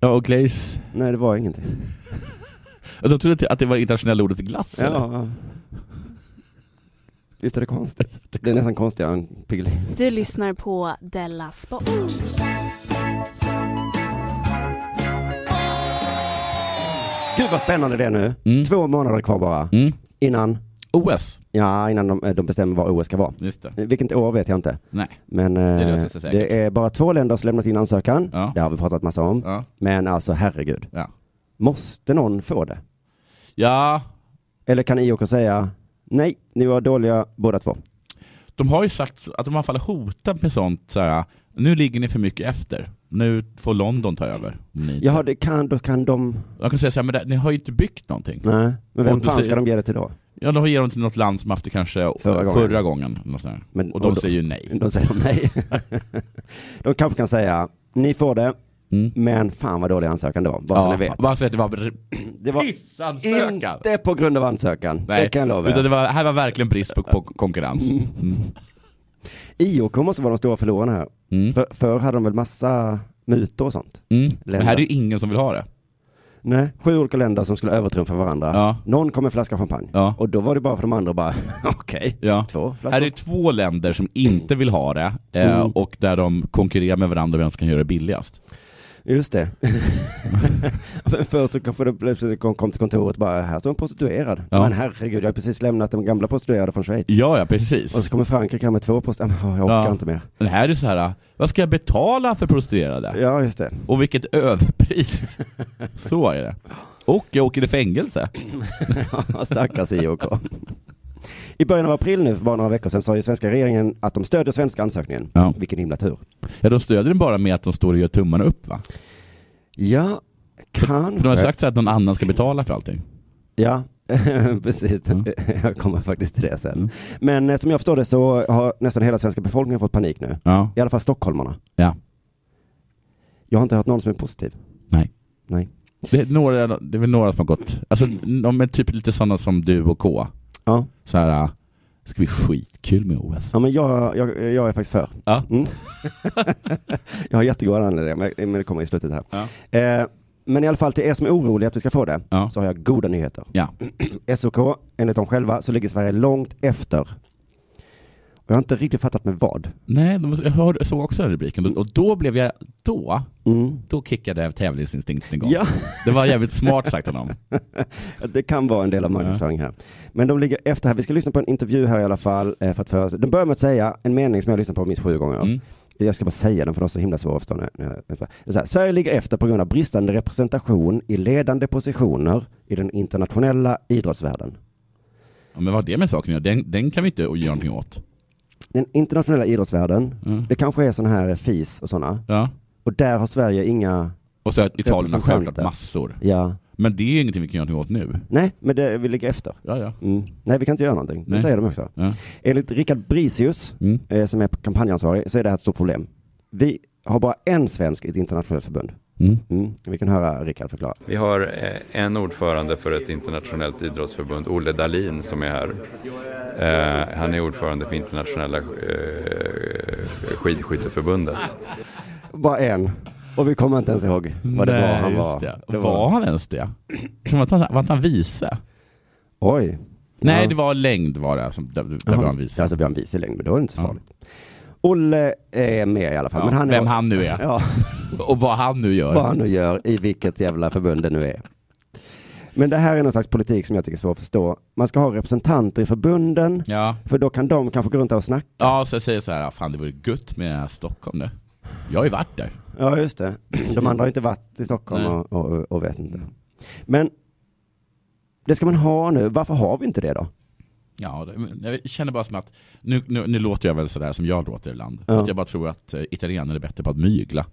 Speaker 6: Ja, och glaze.
Speaker 5: Nej, det var ingenting.
Speaker 6: Ja, De trodde att det- att det var internationella ordet för glass
Speaker 5: Ja.
Speaker 6: eller?
Speaker 5: Visst är det konstigt? Det är nästan konstigare än Piggelin.
Speaker 4: Du lyssnar på Della Sport.
Speaker 5: Gud vad spännande det är nu.
Speaker 6: Mm.
Speaker 5: Två månader kvar bara. Innan?
Speaker 6: OS.
Speaker 5: Ja, innan de, eh, de bestämmer vad OS ska vara. Eh,
Speaker 6: Just det.
Speaker 5: Vilket år vet jag inte.
Speaker 6: Nej.
Speaker 5: Men eh,
Speaker 6: Det
Speaker 5: det,
Speaker 6: löser sig
Speaker 5: är
Speaker 6: säkert.
Speaker 5: bara två länder som lämnat in ansökan. Det har vi pratat massa om.
Speaker 6: Ja.
Speaker 5: Men alltså herregud.
Speaker 6: Ja.
Speaker 5: Måste någon få det?
Speaker 6: Ja,
Speaker 5: Eller kan IOK säga nej, ni var dåliga båda två?
Speaker 6: de har ju sagt att de i alla fall hotat med sånt så här. nu ligger ni för mycket efter. Nu får London ta över. om Ni.
Speaker 5: Jaha, det kan, då kan de...
Speaker 6: Jag kan säga så här, men det, ni har ju inte byggt någonting.
Speaker 5: Nej, men
Speaker 6: Och
Speaker 5: vem
Speaker 6: då
Speaker 5: fan ska
Speaker 6: säger-
Speaker 5: de ge det till då?
Speaker 6: Ja, de ger dem till något land som haft det kanske
Speaker 5: Förra
Speaker 6: förra
Speaker 5: gången.
Speaker 6: gången. Förra gången eller något sånt där. och de
Speaker 5: och då-
Speaker 6: säger ju nej.
Speaker 5: De säger nej. de kanske kan säga, ni får det, men fan vad dålig ansökan det var, bara så
Speaker 6: Mm. Ja,
Speaker 5: ni vet.
Speaker 6: Bara så att det var
Speaker 5: Det var
Speaker 6: pissansökan.
Speaker 5: inte på grund av ansökan, det kan jag lova
Speaker 6: utan
Speaker 5: er.
Speaker 6: det var, här var verkligen brist på, på konkurrens. Mm.
Speaker 5: IOK måste vara de stora förlorarna här. För, förr hade de väl massa mutor och sånt?
Speaker 6: Mm. Men
Speaker 5: Länder.
Speaker 6: här är ju ingen som vill ha det.
Speaker 5: Nej, sju olika länder som skulle övertrumfa varandra. Någon kom med en flaska champagne. Och då var det bara för de andra bara, okej,
Speaker 6: Ja.
Speaker 5: två
Speaker 6: Här är
Speaker 5: flaskor.
Speaker 6: det två länder som inte vill ha det eh,
Speaker 5: Mm.
Speaker 6: och där de konkurrerar med varandra vem som kan göra det billigast.
Speaker 5: Just det. Men Förr så kanske det plötsligt kom, kom till kontoret och bara, här står en prostituerad.
Speaker 6: Ja.
Speaker 5: Men herregud, jag har precis lämnat den gamla prostituerade från Schweiz.
Speaker 6: Ja, ja precis.
Speaker 5: Och så kommer Frankrike här med två prostituerade, jag orkar
Speaker 6: Ja.
Speaker 5: inte mer.
Speaker 6: Men här är det så här, vad ska jag betala för prostituerade?
Speaker 5: Ja, just det.
Speaker 6: Och vilket överpris. så är det. Och jag åker i fängelse.
Speaker 5: Ja, Stackars IOK. I början av april nu, för bara några veckor sedan, sa ju svenska regeringen att de stödjer svenska ansökningen.
Speaker 6: Ja.
Speaker 5: Vilken himla tur.
Speaker 6: Ja, de stödjer den bara med att de står och gör tummarna upp va?
Speaker 5: Ja, kanske.
Speaker 6: För de har sagt så här att någon annan ska betala för allting.
Speaker 5: Ja, precis.
Speaker 6: Mm.
Speaker 5: Jag kommer faktiskt till det sen. Men eh, som jag förstår det så har nästan hela svenska befolkningen fått panik nu.
Speaker 6: Ja.
Speaker 5: I alla fall stockholmarna.
Speaker 6: Ja.
Speaker 5: Jag har inte hört någon som är positiv.
Speaker 6: Nej.
Speaker 5: Nej.
Speaker 6: Det är, några, det är väl några som har gått, alltså de är typ lite sådana som du och K.
Speaker 5: Ja.
Speaker 6: Så här, äh, det ska bli skitkul med OS.
Speaker 5: Ja, men jag, jag, jag är faktiskt för.
Speaker 6: Ja.
Speaker 5: Mm. jag har jättegoda anledningar, men men det kommer i slutet här. Eh, Men i alla fall till er som är oroliga att vi ska få det, så har jag goda nyheter.
Speaker 6: Ja.
Speaker 5: SOK, enligt dem själva, så ligger Sverige långt efter. Och jag har inte riktigt fattat med vad.
Speaker 6: Nej, de- jag hörde, såg också den rubriken och då blev jag, då,
Speaker 5: Mm.
Speaker 6: då kickade tävlingsinstinkten igång.
Speaker 5: Ja.
Speaker 6: Det var jävligt smart sagt av dem.
Speaker 5: Det kan vara en del av marknadsföring här. Men de ligger efter här. Vi ska lyssna på en intervju här i alla fall. eh, För att för... De börjar med att säga en mening som jag har lyssnat på minst sju gånger. Jag ska bara säga den för de är så himla svåra att förstå. nu. Nu- nu- så här, Sverige ligger efter på grund av bristande representation i ledande positioner i den internationella idrottsvärlden.
Speaker 6: Ja, men vad har det med saken att göra? den, den kan vi inte göra någonting åt.
Speaker 5: Den internationella idrottsvärlden, det kanske är sån här FIS och sådana.
Speaker 6: Mm. Ja.
Speaker 5: Och där har Sverige inga
Speaker 6: Och så att Italien har självklart
Speaker 5: representanter.
Speaker 6: massor.
Speaker 5: Ja.
Speaker 6: Men det är ju ingenting vi kan göra någonting åt nu.
Speaker 5: Nej, men det, vi ligger efter.
Speaker 6: Ja, ja.
Speaker 5: Mm. Nej, vi kan inte göra någonting. Det
Speaker 6: Nej.
Speaker 5: säger de också.
Speaker 6: Ja. Mm.
Speaker 5: Enligt Rickard Brisius, eh, som är kampanjansvarig, så är det här ett stort problem. Vi har bara en svensk i ett internationellt förbund.
Speaker 6: Mm.
Speaker 5: Vi kan höra Rickard förklara.
Speaker 11: Vi har eh, en ordförande för ett internationellt idrottsförbund, Olle Dahlin, som är här. Eh, Han är ordförande för internationella eh, skidskytteförbundet.
Speaker 5: Bara en. Och vi kommer inte ens ihåg vad det
Speaker 6: Nej,
Speaker 5: var han
Speaker 6: just
Speaker 5: var.
Speaker 6: det.
Speaker 5: Det
Speaker 6: var... han ens det? Som att han, var inte han vice?
Speaker 5: Oj.
Speaker 6: Nej,
Speaker 5: Ja.
Speaker 6: det var längd var det. Som, där där
Speaker 5: Jaha.
Speaker 6: var han vice.
Speaker 5: Alltså, vi har en vice längd, men då är det inte så farligt. Olle är med i alla fall.
Speaker 6: Ja,
Speaker 5: men han är
Speaker 6: vem han nu är.
Speaker 5: Ja.
Speaker 6: Och vad han nu gör.
Speaker 5: Vad han nu gör, i vilket jävla förbund det nu är. Men det här är någon slags politik som jag tycker är svår att förstå. Man ska ha representanter i förbunden,
Speaker 6: Ja.
Speaker 5: för då kan de kanske gå runt där och snacka.
Speaker 6: Ja, så jag säger så här, "Ah, fan det vore gött med Stockholm nu. Jag har ju varit där.
Speaker 5: Ja, just det. De andra har inte varit i Stockholm
Speaker 6: Nej.
Speaker 5: och, och, och vet inte. Men det ska man ha nu. Varför har vi inte det då?
Speaker 6: Ja, det- men jag känner bara som att, nu, nu, nu låter jag väl sådär som jag låter ibland.
Speaker 5: Ja.
Speaker 6: Att jag bara tror att eh, italienare är bättre på att mygla.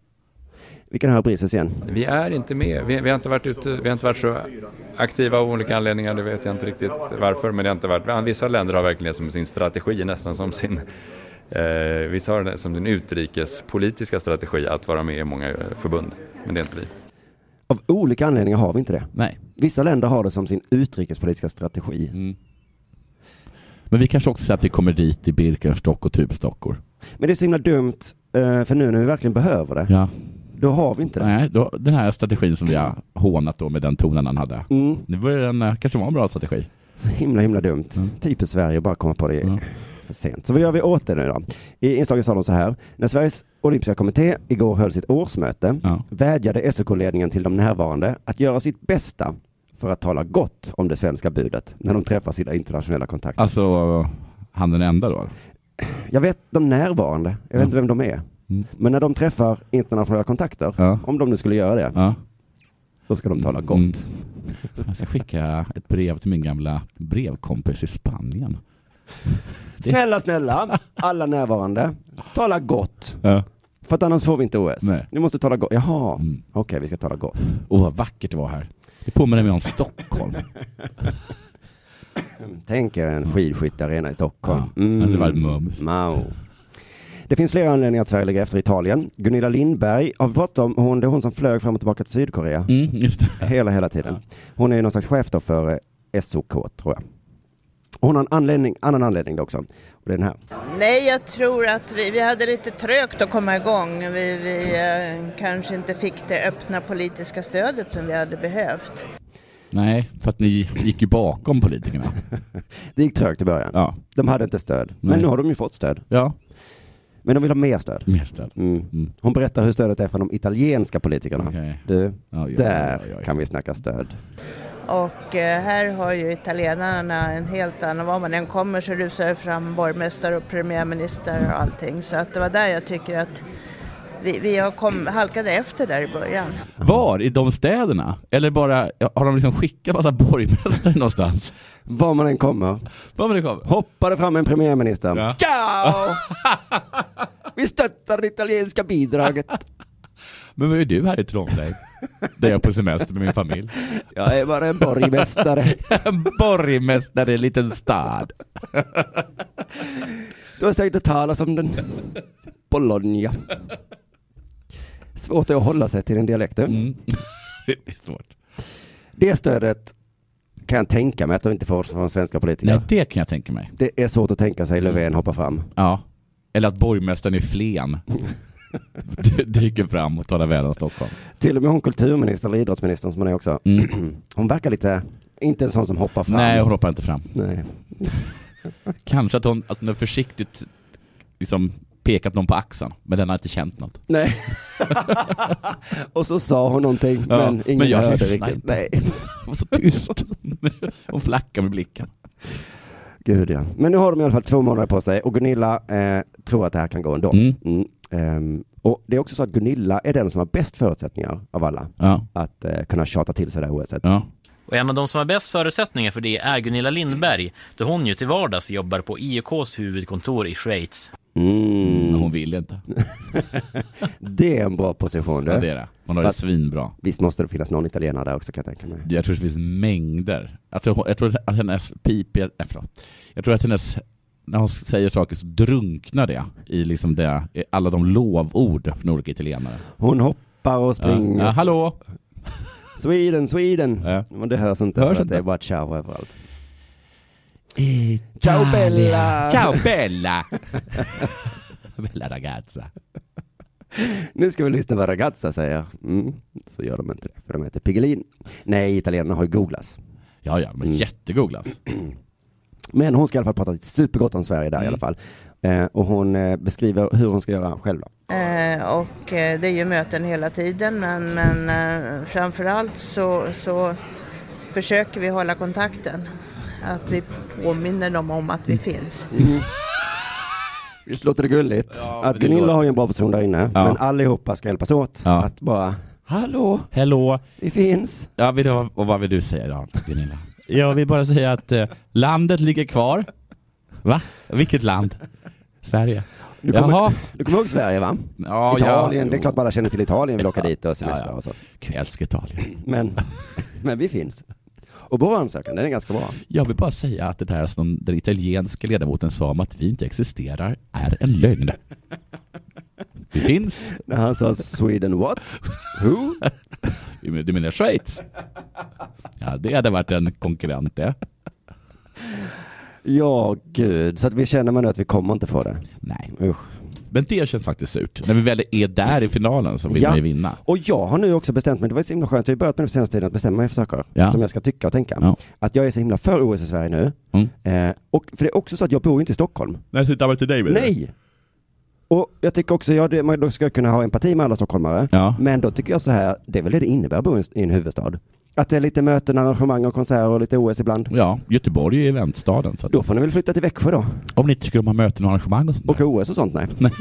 Speaker 5: Vi kan höra Brises igen.
Speaker 11: Vi är inte med. Vi, vi, har inte varit ute, vi har inte varit så aktiva av olika anledningar. Det vet jag inte riktigt varför. Men det har inte varit. men Vissa länder har verkligen det som sin strategi, nästan som sin eh, vissa har det som sin utrikespolitiska strategi att vara med i många eh, förbund. Men det är inte vi.
Speaker 5: Av olika anledningar har vi inte det.
Speaker 6: Nej. Mm.
Speaker 5: Vissa länder har det som sin utrikespolitiska strategi.
Speaker 6: Men vi kanske också säger att vi kommer dit i Birkenstock och tubstockor.
Speaker 5: Men det är så himla dumt, eh, för nu när vi verkligen behöver det,
Speaker 6: Ja.
Speaker 5: då har vi inte det.
Speaker 6: Nej, då, den här strategin som vi har hånat då med den tonen han hade.
Speaker 5: Mm.
Speaker 6: Det var den, eh, kanske var en bra strategi.
Speaker 5: Så himla, himla dumt.
Speaker 6: Mm.
Speaker 5: Typiskt Sverige att bara komma på det för sent. Så vad gör vi åt det nu då? I inslaget sa de så här. När Sveriges olympiska kommitté igår höll sitt årsmöte vädjade SOK-ledningen till de närvarande att göra sitt bästa för att tala gott om det svenska budet när de träffar sina internationella kontakter.
Speaker 6: Alltså, han den enda då?
Speaker 5: Jag vet de närvarande, jag vet inte vem de är.
Speaker 6: Mm.
Speaker 5: Men när de träffar internationella kontakter, om de nu skulle göra det, då ska de tala
Speaker 6: Mm.
Speaker 5: gott.
Speaker 6: Jag ska skicka ett brev till min gamla brevkompis i Spanien.
Speaker 5: Snälla, snälla, alla närvarande, tala gott.
Speaker 6: Ja.
Speaker 5: För att annars får vi inte OS.
Speaker 6: Nej.
Speaker 5: Ni måste tala gott. Jaha, okej, vi ska tala gott.
Speaker 6: Och vad vackert det var här. Det påminner mig om Stockholm.
Speaker 5: Tänk er en skidskyttearena i Stockholm.
Speaker 6: Ja, det hade varit mums.
Speaker 5: Mao. Det finns flera anledningar att Sverige ligger efter Italien. Gunilla Lindberg, har vi pratat om hon, det är hon som flög fram och tillbaka till Sydkorea.
Speaker 6: Mm, just det.
Speaker 5: Hela, hela tiden. Hon är ju någon slags chef då för eh, SOK, tror jag. Och Hon har en anledning, annan anledning då också. Och det är den här.
Speaker 12: Nej, jag tror att vi, vi hade lite trögt att komma igång. Vi, vi eh, kanske inte fick det öppna politiska stödet som vi hade behövt.
Speaker 6: Nej, för att ni gick ju bakom politikerna.
Speaker 5: Det gick trögt i början. De hade inte stöd. Men
Speaker 6: Nej.
Speaker 5: nu har de ju fått stöd.
Speaker 6: Ja.
Speaker 5: Men de vill ha mer stöd.
Speaker 6: Mer stöd.
Speaker 5: Mm. Hon berättar hur stödet är från de italienska politikerna.
Speaker 6: Okej.
Speaker 5: Du,
Speaker 6: Ja, ja,
Speaker 5: där
Speaker 6: ja, ja, ja.
Speaker 5: kan vi snacka stöd.
Speaker 12: Och eh, här har ju italienarna en helt annan, var man än kommer så rusar det fram borgmästare och premiärminister och allting. Så att det var där jag tycker att vi, vi har kom, halkade efter där i början.
Speaker 6: Var? I de städerna? Eller bara, har de liksom skickat massa borgmästare någonstans?
Speaker 5: Var man än kommer.
Speaker 6: Var man än kommer.
Speaker 5: Hoppade fram en premiärminister. Ciao! vi stöttar det italienska bidraget.
Speaker 6: Men vad är du här i Trondheim? Där jag är på semester med min familj.
Speaker 5: Jag är bara en borgmästare.
Speaker 6: en borgmästare i en liten stad.
Speaker 5: Du har säkert hört talas om den. Bologna. Svårt att hålla sig till den dialekten.
Speaker 6: Mm. Det är svårt.
Speaker 5: Det stödet kan jag tänka mig att de inte får från svenska politiker.
Speaker 6: Nej, Mm. det kan jag tänka mig.
Speaker 5: Det är svårt att tänka sig Löfven hoppa fram.
Speaker 6: Ja. Eller att borgmästaren i Flen d- dyker fram och talar väl om Stockholm.
Speaker 5: Till och med hon kulturministern eller idrottsministern som hon är också. Hon verkar lite, inte en sån som hoppar fram.
Speaker 6: Mm. Nej, hon hoppar inte fram.
Speaker 5: Nej.
Speaker 6: Kanske att hon, att hon har försiktigt liksom pekat någon på axeln, men den har inte känt något.
Speaker 5: Nej. och så sa hon någonting,
Speaker 6: Ja,
Speaker 5: men ingen
Speaker 6: men jag
Speaker 5: hörde
Speaker 6: lyssnade
Speaker 5: riktigt.
Speaker 6: inte.
Speaker 5: Nej.
Speaker 6: Det var så tyst. Hon flackar med blicken.
Speaker 5: Gud ja. Men nu har de i alla fall två månader på sig och Gunilla eh, tror att det här kan gå ändå.
Speaker 6: Mm.
Speaker 5: Ehm, och det är också så att Gunilla är den som har bäst förutsättningar av alla
Speaker 6: Ja.
Speaker 5: att eh, kunna tjata till sig det här OSet.
Speaker 13: Och en av de som har bäst förutsättningar för det är Gunilla Lindberg, då hon ju till vardags jobbar på IOKs huvudkontor i Schweiz.
Speaker 5: Mm.
Speaker 6: Men hon vill inte.
Speaker 5: det är en bra position. Du.
Speaker 6: Ja, det är det. Hon har det
Speaker 5: Fast
Speaker 6: svinbra.
Speaker 5: Visst måste det finnas någon italienare där också kan jag tänka mig.
Speaker 6: Jag tror det finns mängder. Alltså, hon- jag tror att hennes pipiga, nej, förlåt. Jag tror att hennes, när hon säger saker så drunknar det i liksom det, i alla de lovord från olika italienare.
Speaker 5: Hon hoppar och springer.
Speaker 6: Ja, hallå!
Speaker 5: Sweden, Sweden! Men det hörs inte,
Speaker 6: Hörs
Speaker 5: för att
Speaker 6: inte.
Speaker 5: det är bara ciao överallt. Ciao Bella!
Speaker 6: Ciao Bella! Bella ragazza.
Speaker 5: Nu ska vi lyssna vad ragazza säger. Mm. Så gör de inte det, för de heter Piggelin. Nej, italienarna har ju googlas.
Speaker 6: Ja, ja, de
Speaker 5: Mm.
Speaker 6: är alltså. jättegooglas.
Speaker 5: Men hon ska i alla fall prata supergott om Sverige där
Speaker 6: Mm.
Speaker 5: i alla fall. Eh, och hon eh, beskriver hur hon ska göra själv då.
Speaker 12: Eh, och eh, det är ju möten hela tiden men, men eh, framförallt så, så försöker vi hålla kontakten. Att vi påminner dem om att vi finns.
Speaker 5: Visst låter det gulligt? att
Speaker 6: men det
Speaker 5: Gunilla
Speaker 6: låter-
Speaker 5: har ju en bra person där inne, men allihopa ska hjälpas åt. Att bara, hallå,
Speaker 6: Hallå!
Speaker 5: vi finns.
Speaker 6: Ja, vill du, och vad vill du säga då, Gunilla? Jag vill bara säga att eh, landet ligger kvar. Va? Vilket land? Sverige.
Speaker 5: Du kommer,
Speaker 6: Jaha.
Speaker 5: du kommer ihåg Sverige va?
Speaker 6: Ja,
Speaker 5: Italien,
Speaker 6: ja,
Speaker 5: det är
Speaker 6: jo.
Speaker 5: klart man alla känner till Italien, vill åka dit och semestra
Speaker 6: Ja, ja.
Speaker 5: och så.
Speaker 6: Gud, jag älskar Italien.
Speaker 5: Men, men vi finns. Och vår ansökan, den är ganska bra.
Speaker 6: Jag vill bara säga att det där som den italienska ledamoten sa om att vi inte existerar är en lögn. Vi finns.
Speaker 5: När han sa Sweden what? Who?
Speaker 6: Du menar Schweiz? Ja, det hade varit en konkurrent det.
Speaker 5: Ja, gud. Så att vi känner man nu att vi kommer inte få det.
Speaker 6: Nej.
Speaker 5: Usch.
Speaker 6: Men det känns faktiskt surt. När vi väl är där i finalen så vill
Speaker 5: Ja.
Speaker 6: man ju vinna.
Speaker 5: Och jag har nu också bestämt mig, det var så himla skönt, jag har ju börjat med det på senaste tiden, att bestämma mig för saker
Speaker 6: Ja.
Speaker 5: som jag ska tycka och tänka.
Speaker 6: Ja. Mm.
Speaker 5: Att jag är så himla för OS i Sverige nu. Eh, och, för det är också så att jag bor ju inte i Stockholm.
Speaker 6: Nej, så inte med till dig
Speaker 5: Nej! Och jag tycker också, ja, det, man då ska kunna ha empati med alla stockholmare. Men då tycker jag så här, det är väl det det innebär att bo i en- i en huvudstad. Att det är lite möten, arrangemang och konserter och lite OS ibland.
Speaker 6: Ja, Göteborg är ju eventstaden. Så att...
Speaker 5: Då får ni väl flytta till Växjö då.
Speaker 6: Om ni inte tycker om att ha möten och arrangemang och sånt
Speaker 5: Och OS och sånt, nej.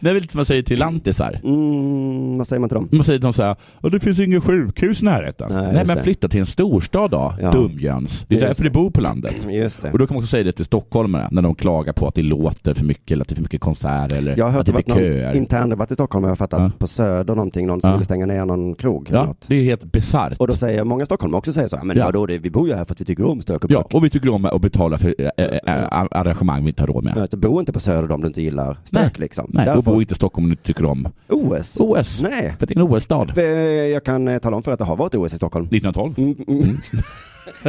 Speaker 6: Det är väl lite som man säger till lantisar.
Speaker 5: Mm, vad säger man till dem?
Speaker 6: Man säger till dem så här, "Ja, det finns inget sjukhus i närheten. Nej,
Speaker 5: just
Speaker 6: men
Speaker 5: det.
Speaker 6: flytta till en storstad då,
Speaker 5: Ja.
Speaker 6: dumjöns. Det är
Speaker 5: Just
Speaker 6: därför du bor på landet.
Speaker 5: Just det.
Speaker 6: Och då kan man också säga det till stockholmare när de klagar på att det låter för mycket eller att det är för mycket konserter eller
Speaker 5: Jag har
Speaker 6: att
Speaker 5: hört
Speaker 6: det
Speaker 5: att
Speaker 6: blir
Speaker 5: det var
Speaker 6: köer.
Speaker 5: någon interndebatt i Stockholm, jag har fattat, på Söder någonting, någon som
Speaker 6: Ja.
Speaker 5: ville stänga ner någon krog. eller
Speaker 6: Ja,
Speaker 5: något.
Speaker 6: det är helt bisarrt.
Speaker 5: Och då säger många stockholmare också säger så, "Ja, men
Speaker 6: Ja.
Speaker 5: vadå, det, vi bor ju här för att vi tycker om stök och
Speaker 6: Ja, och vi tycker om att betala för eh, eh, eh, arrangemang vi inte har råd med.
Speaker 5: ja. alltså, Bo inte på Söder om du inte gillar stök liksom.
Speaker 6: Nej, och
Speaker 5: Därför-
Speaker 6: bo inte i Stockholm om du inte tycker om
Speaker 5: OS?
Speaker 6: OS.
Speaker 5: Nej.
Speaker 6: För det är en OS-stad.
Speaker 5: För, eh, Jag kan eh, tala om för er att det har varit OS i Stockholm.
Speaker 6: 1912.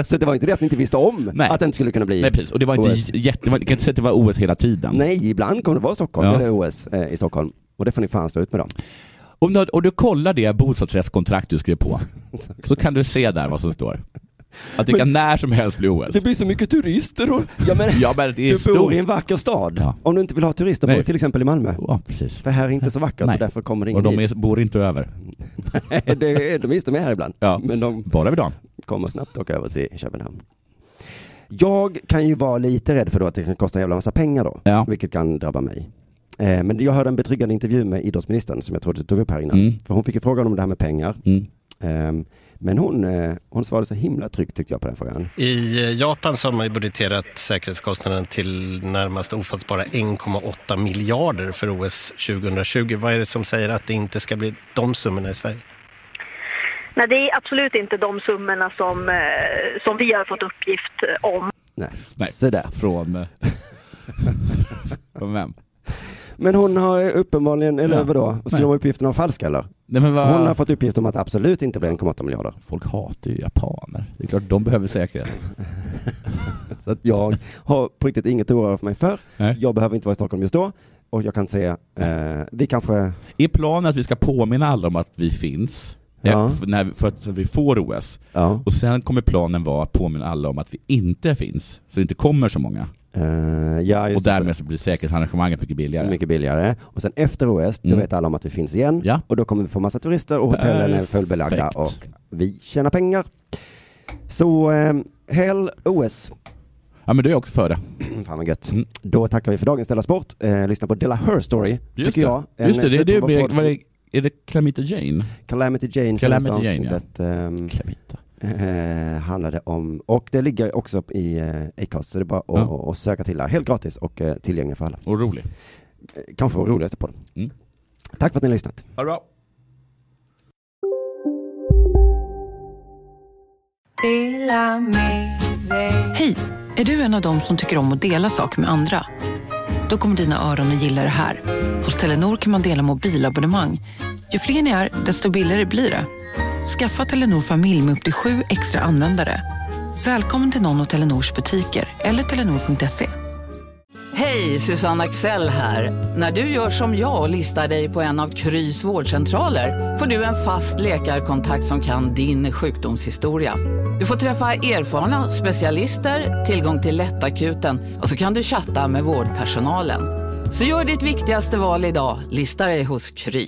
Speaker 5: Så det var inte det att ni inte visste om att det inte skulle kunna bli
Speaker 6: Nej, precis. Och det var inte
Speaker 5: OS.
Speaker 6: j- jätte... Man kan inte säga att det var OS hela tiden.
Speaker 5: Nej, ibland kommer det vara Stockholm,
Speaker 6: Ja. Alltså-
Speaker 5: eller OS eh, i Stockholm. Och det får ni fan stå ut med dem.
Speaker 6: Om du, och du kollar det bostadsrättskontrakt du skrev på, så kan du se där vad som står. Att det kan när som helst bli OS.
Speaker 5: blir så mycket turister och... Ja men,
Speaker 6: Ja, men det är
Speaker 5: du
Speaker 6: stort.
Speaker 5: bor i en vacker stad.
Speaker 6: Ja.
Speaker 5: Om du inte vill ha turister, bor
Speaker 6: Nej.
Speaker 5: du till exempel i Malmö.
Speaker 6: Ja, precis.
Speaker 5: För här är inte så vackert
Speaker 6: Nej.
Speaker 5: och därför kommer det
Speaker 6: Och
Speaker 5: ingen
Speaker 6: de
Speaker 5: hit.
Speaker 6: är, bor inte över.
Speaker 5: Nej, det är, de visst, de är här ibland.
Speaker 6: Ja,
Speaker 5: Men de
Speaker 6: bara över dagen.
Speaker 5: kommer snabbt åka över till Köpenhamn. Jag kan ju vara lite rädd för då att det kan kosta en jävla massa pengar då, vilket kan drabba mig. Eh, Men jag hörde en betryggande intervju med idrottsministern som jag tror du tog upp här innan.
Speaker 6: Mm.
Speaker 5: För hon fick ju frågan om det här med pengar.
Speaker 6: Mm.
Speaker 5: Eh, Men hon, eh, hon svarade så himla tryggt tyckte jag på den frågan.
Speaker 14: I Japan så har man ju budgeterat säkerhetskostnaden till närmast ofattbara 1,8 miljarder för OS 2020. Vad är det som säger att det inte ska bli de summorna i Sverige?
Speaker 15: Nej, det är absolut inte de summorna som, eh, som vi har fått uppgift om.
Speaker 5: Nej, sådär.
Speaker 6: Från... eh, Från vem?
Speaker 5: Men hon har ju uppenbarligen, eller
Speaker 6: Ja.
Speaker 5: vadå, skulle
Speaker 6: Nej.
Speaker 5: de uppgifterna vara falska eller?
Speaker 6: Nej, men vad-
Speaker 5: Hon har fått uppgift om att det absolut inte blir 1,8 miljarder.
Speaker 6: Folk hatar ju japaner. Det är klart de behöver säkerhet.
Speaker 5: Så att jag har på riktigt inget att oroa för mig för.
Speaker 6: Nej.
Speaker 5: Jag behöver inte vara i Stockholm just då. och jag kan säga, eh, vi kanske...
Speaker 6: Är planen att vi ska påminna alla om att vi finns? eh,
Speaker 5: Ja.
Speaker 6: f- När, vi- för att så att vi får OS. Och sen kommer planen vara att påminna alla om att vi inte finns, så det inte kommer så många.
Speaker 5: eh, ja, just
Speaker 6: och
Speaker 5: det.
Speaker 6: därmed så blir säkerhetsarrangemanget mycket billigare.
Speaker 5: Mycket billigare. Och sen efter OS, då
Speaker 6: Mm.
Speaker 5: vet alla om att vi finns igen. Och då kommer vi få massa turister och hotellen är
Speaker 6: Perfekt.
Speaker 5: fullbelagda och vi tjänar pengar. Så, eh, häll OS.
Speaker 6: Ja, men du är också för det.
Speaker 5: Mm, Fan vad gött. Då tackar vi för dagens Della Sport. Eh, lyssna på Della Her Story, tycker
Speaker 6: det.
Speaker 5: jag. En
Speaker 6: Just det, det är det
Speaker 5: superbra
Speaker 6: med,
Speaker 5: podd
Speaker 6: vad
Speaker 5: som-
Speaker 6: är, är det Calamity Jane?
Speaker 5: Calamity Jane,
Speaker 6: Calamity
Speaker 5: senaste
Speaker 6: Jane, ja.
Speaker 5: avsnittet ehm, eh, handlade om, och det ligger också upp i eh, Acast, så det är bara att att- att söka till där. Helt gratis och eh, tillgänglig för alla. Eh,
Speaker 6: Och rolig. Mm.
Speaker 5: Kanske vår roligaste på den. Tack för att ni har lyssnat.
Speaker 6: Ha det bra.
Speaker 7: Hej! Är du en av dem som tycker om att dela saker med andra? Då kommer dina öron att gilla det här. Hos Telenor kan man dela mobilabonnemang. Ju fler ni är, desto billigare blir det. Skaffa Telenor familj med upp till sju extra användare. Välkommen till någon av Telenors butiker eller telenor.se.
Speaker 12: Hej, Susanne Axel här. När du gör som jag och listar dig på en av Krys vårdcentraler får du en fast läkarkontakt som kan din sjukdomshistoria. Du får träffa erfarna specialister, tillgång till lättakuten och så kan du chatta med vårdpersonalen. Så gör ditt viktigaste val idag, listar dig hos Kry.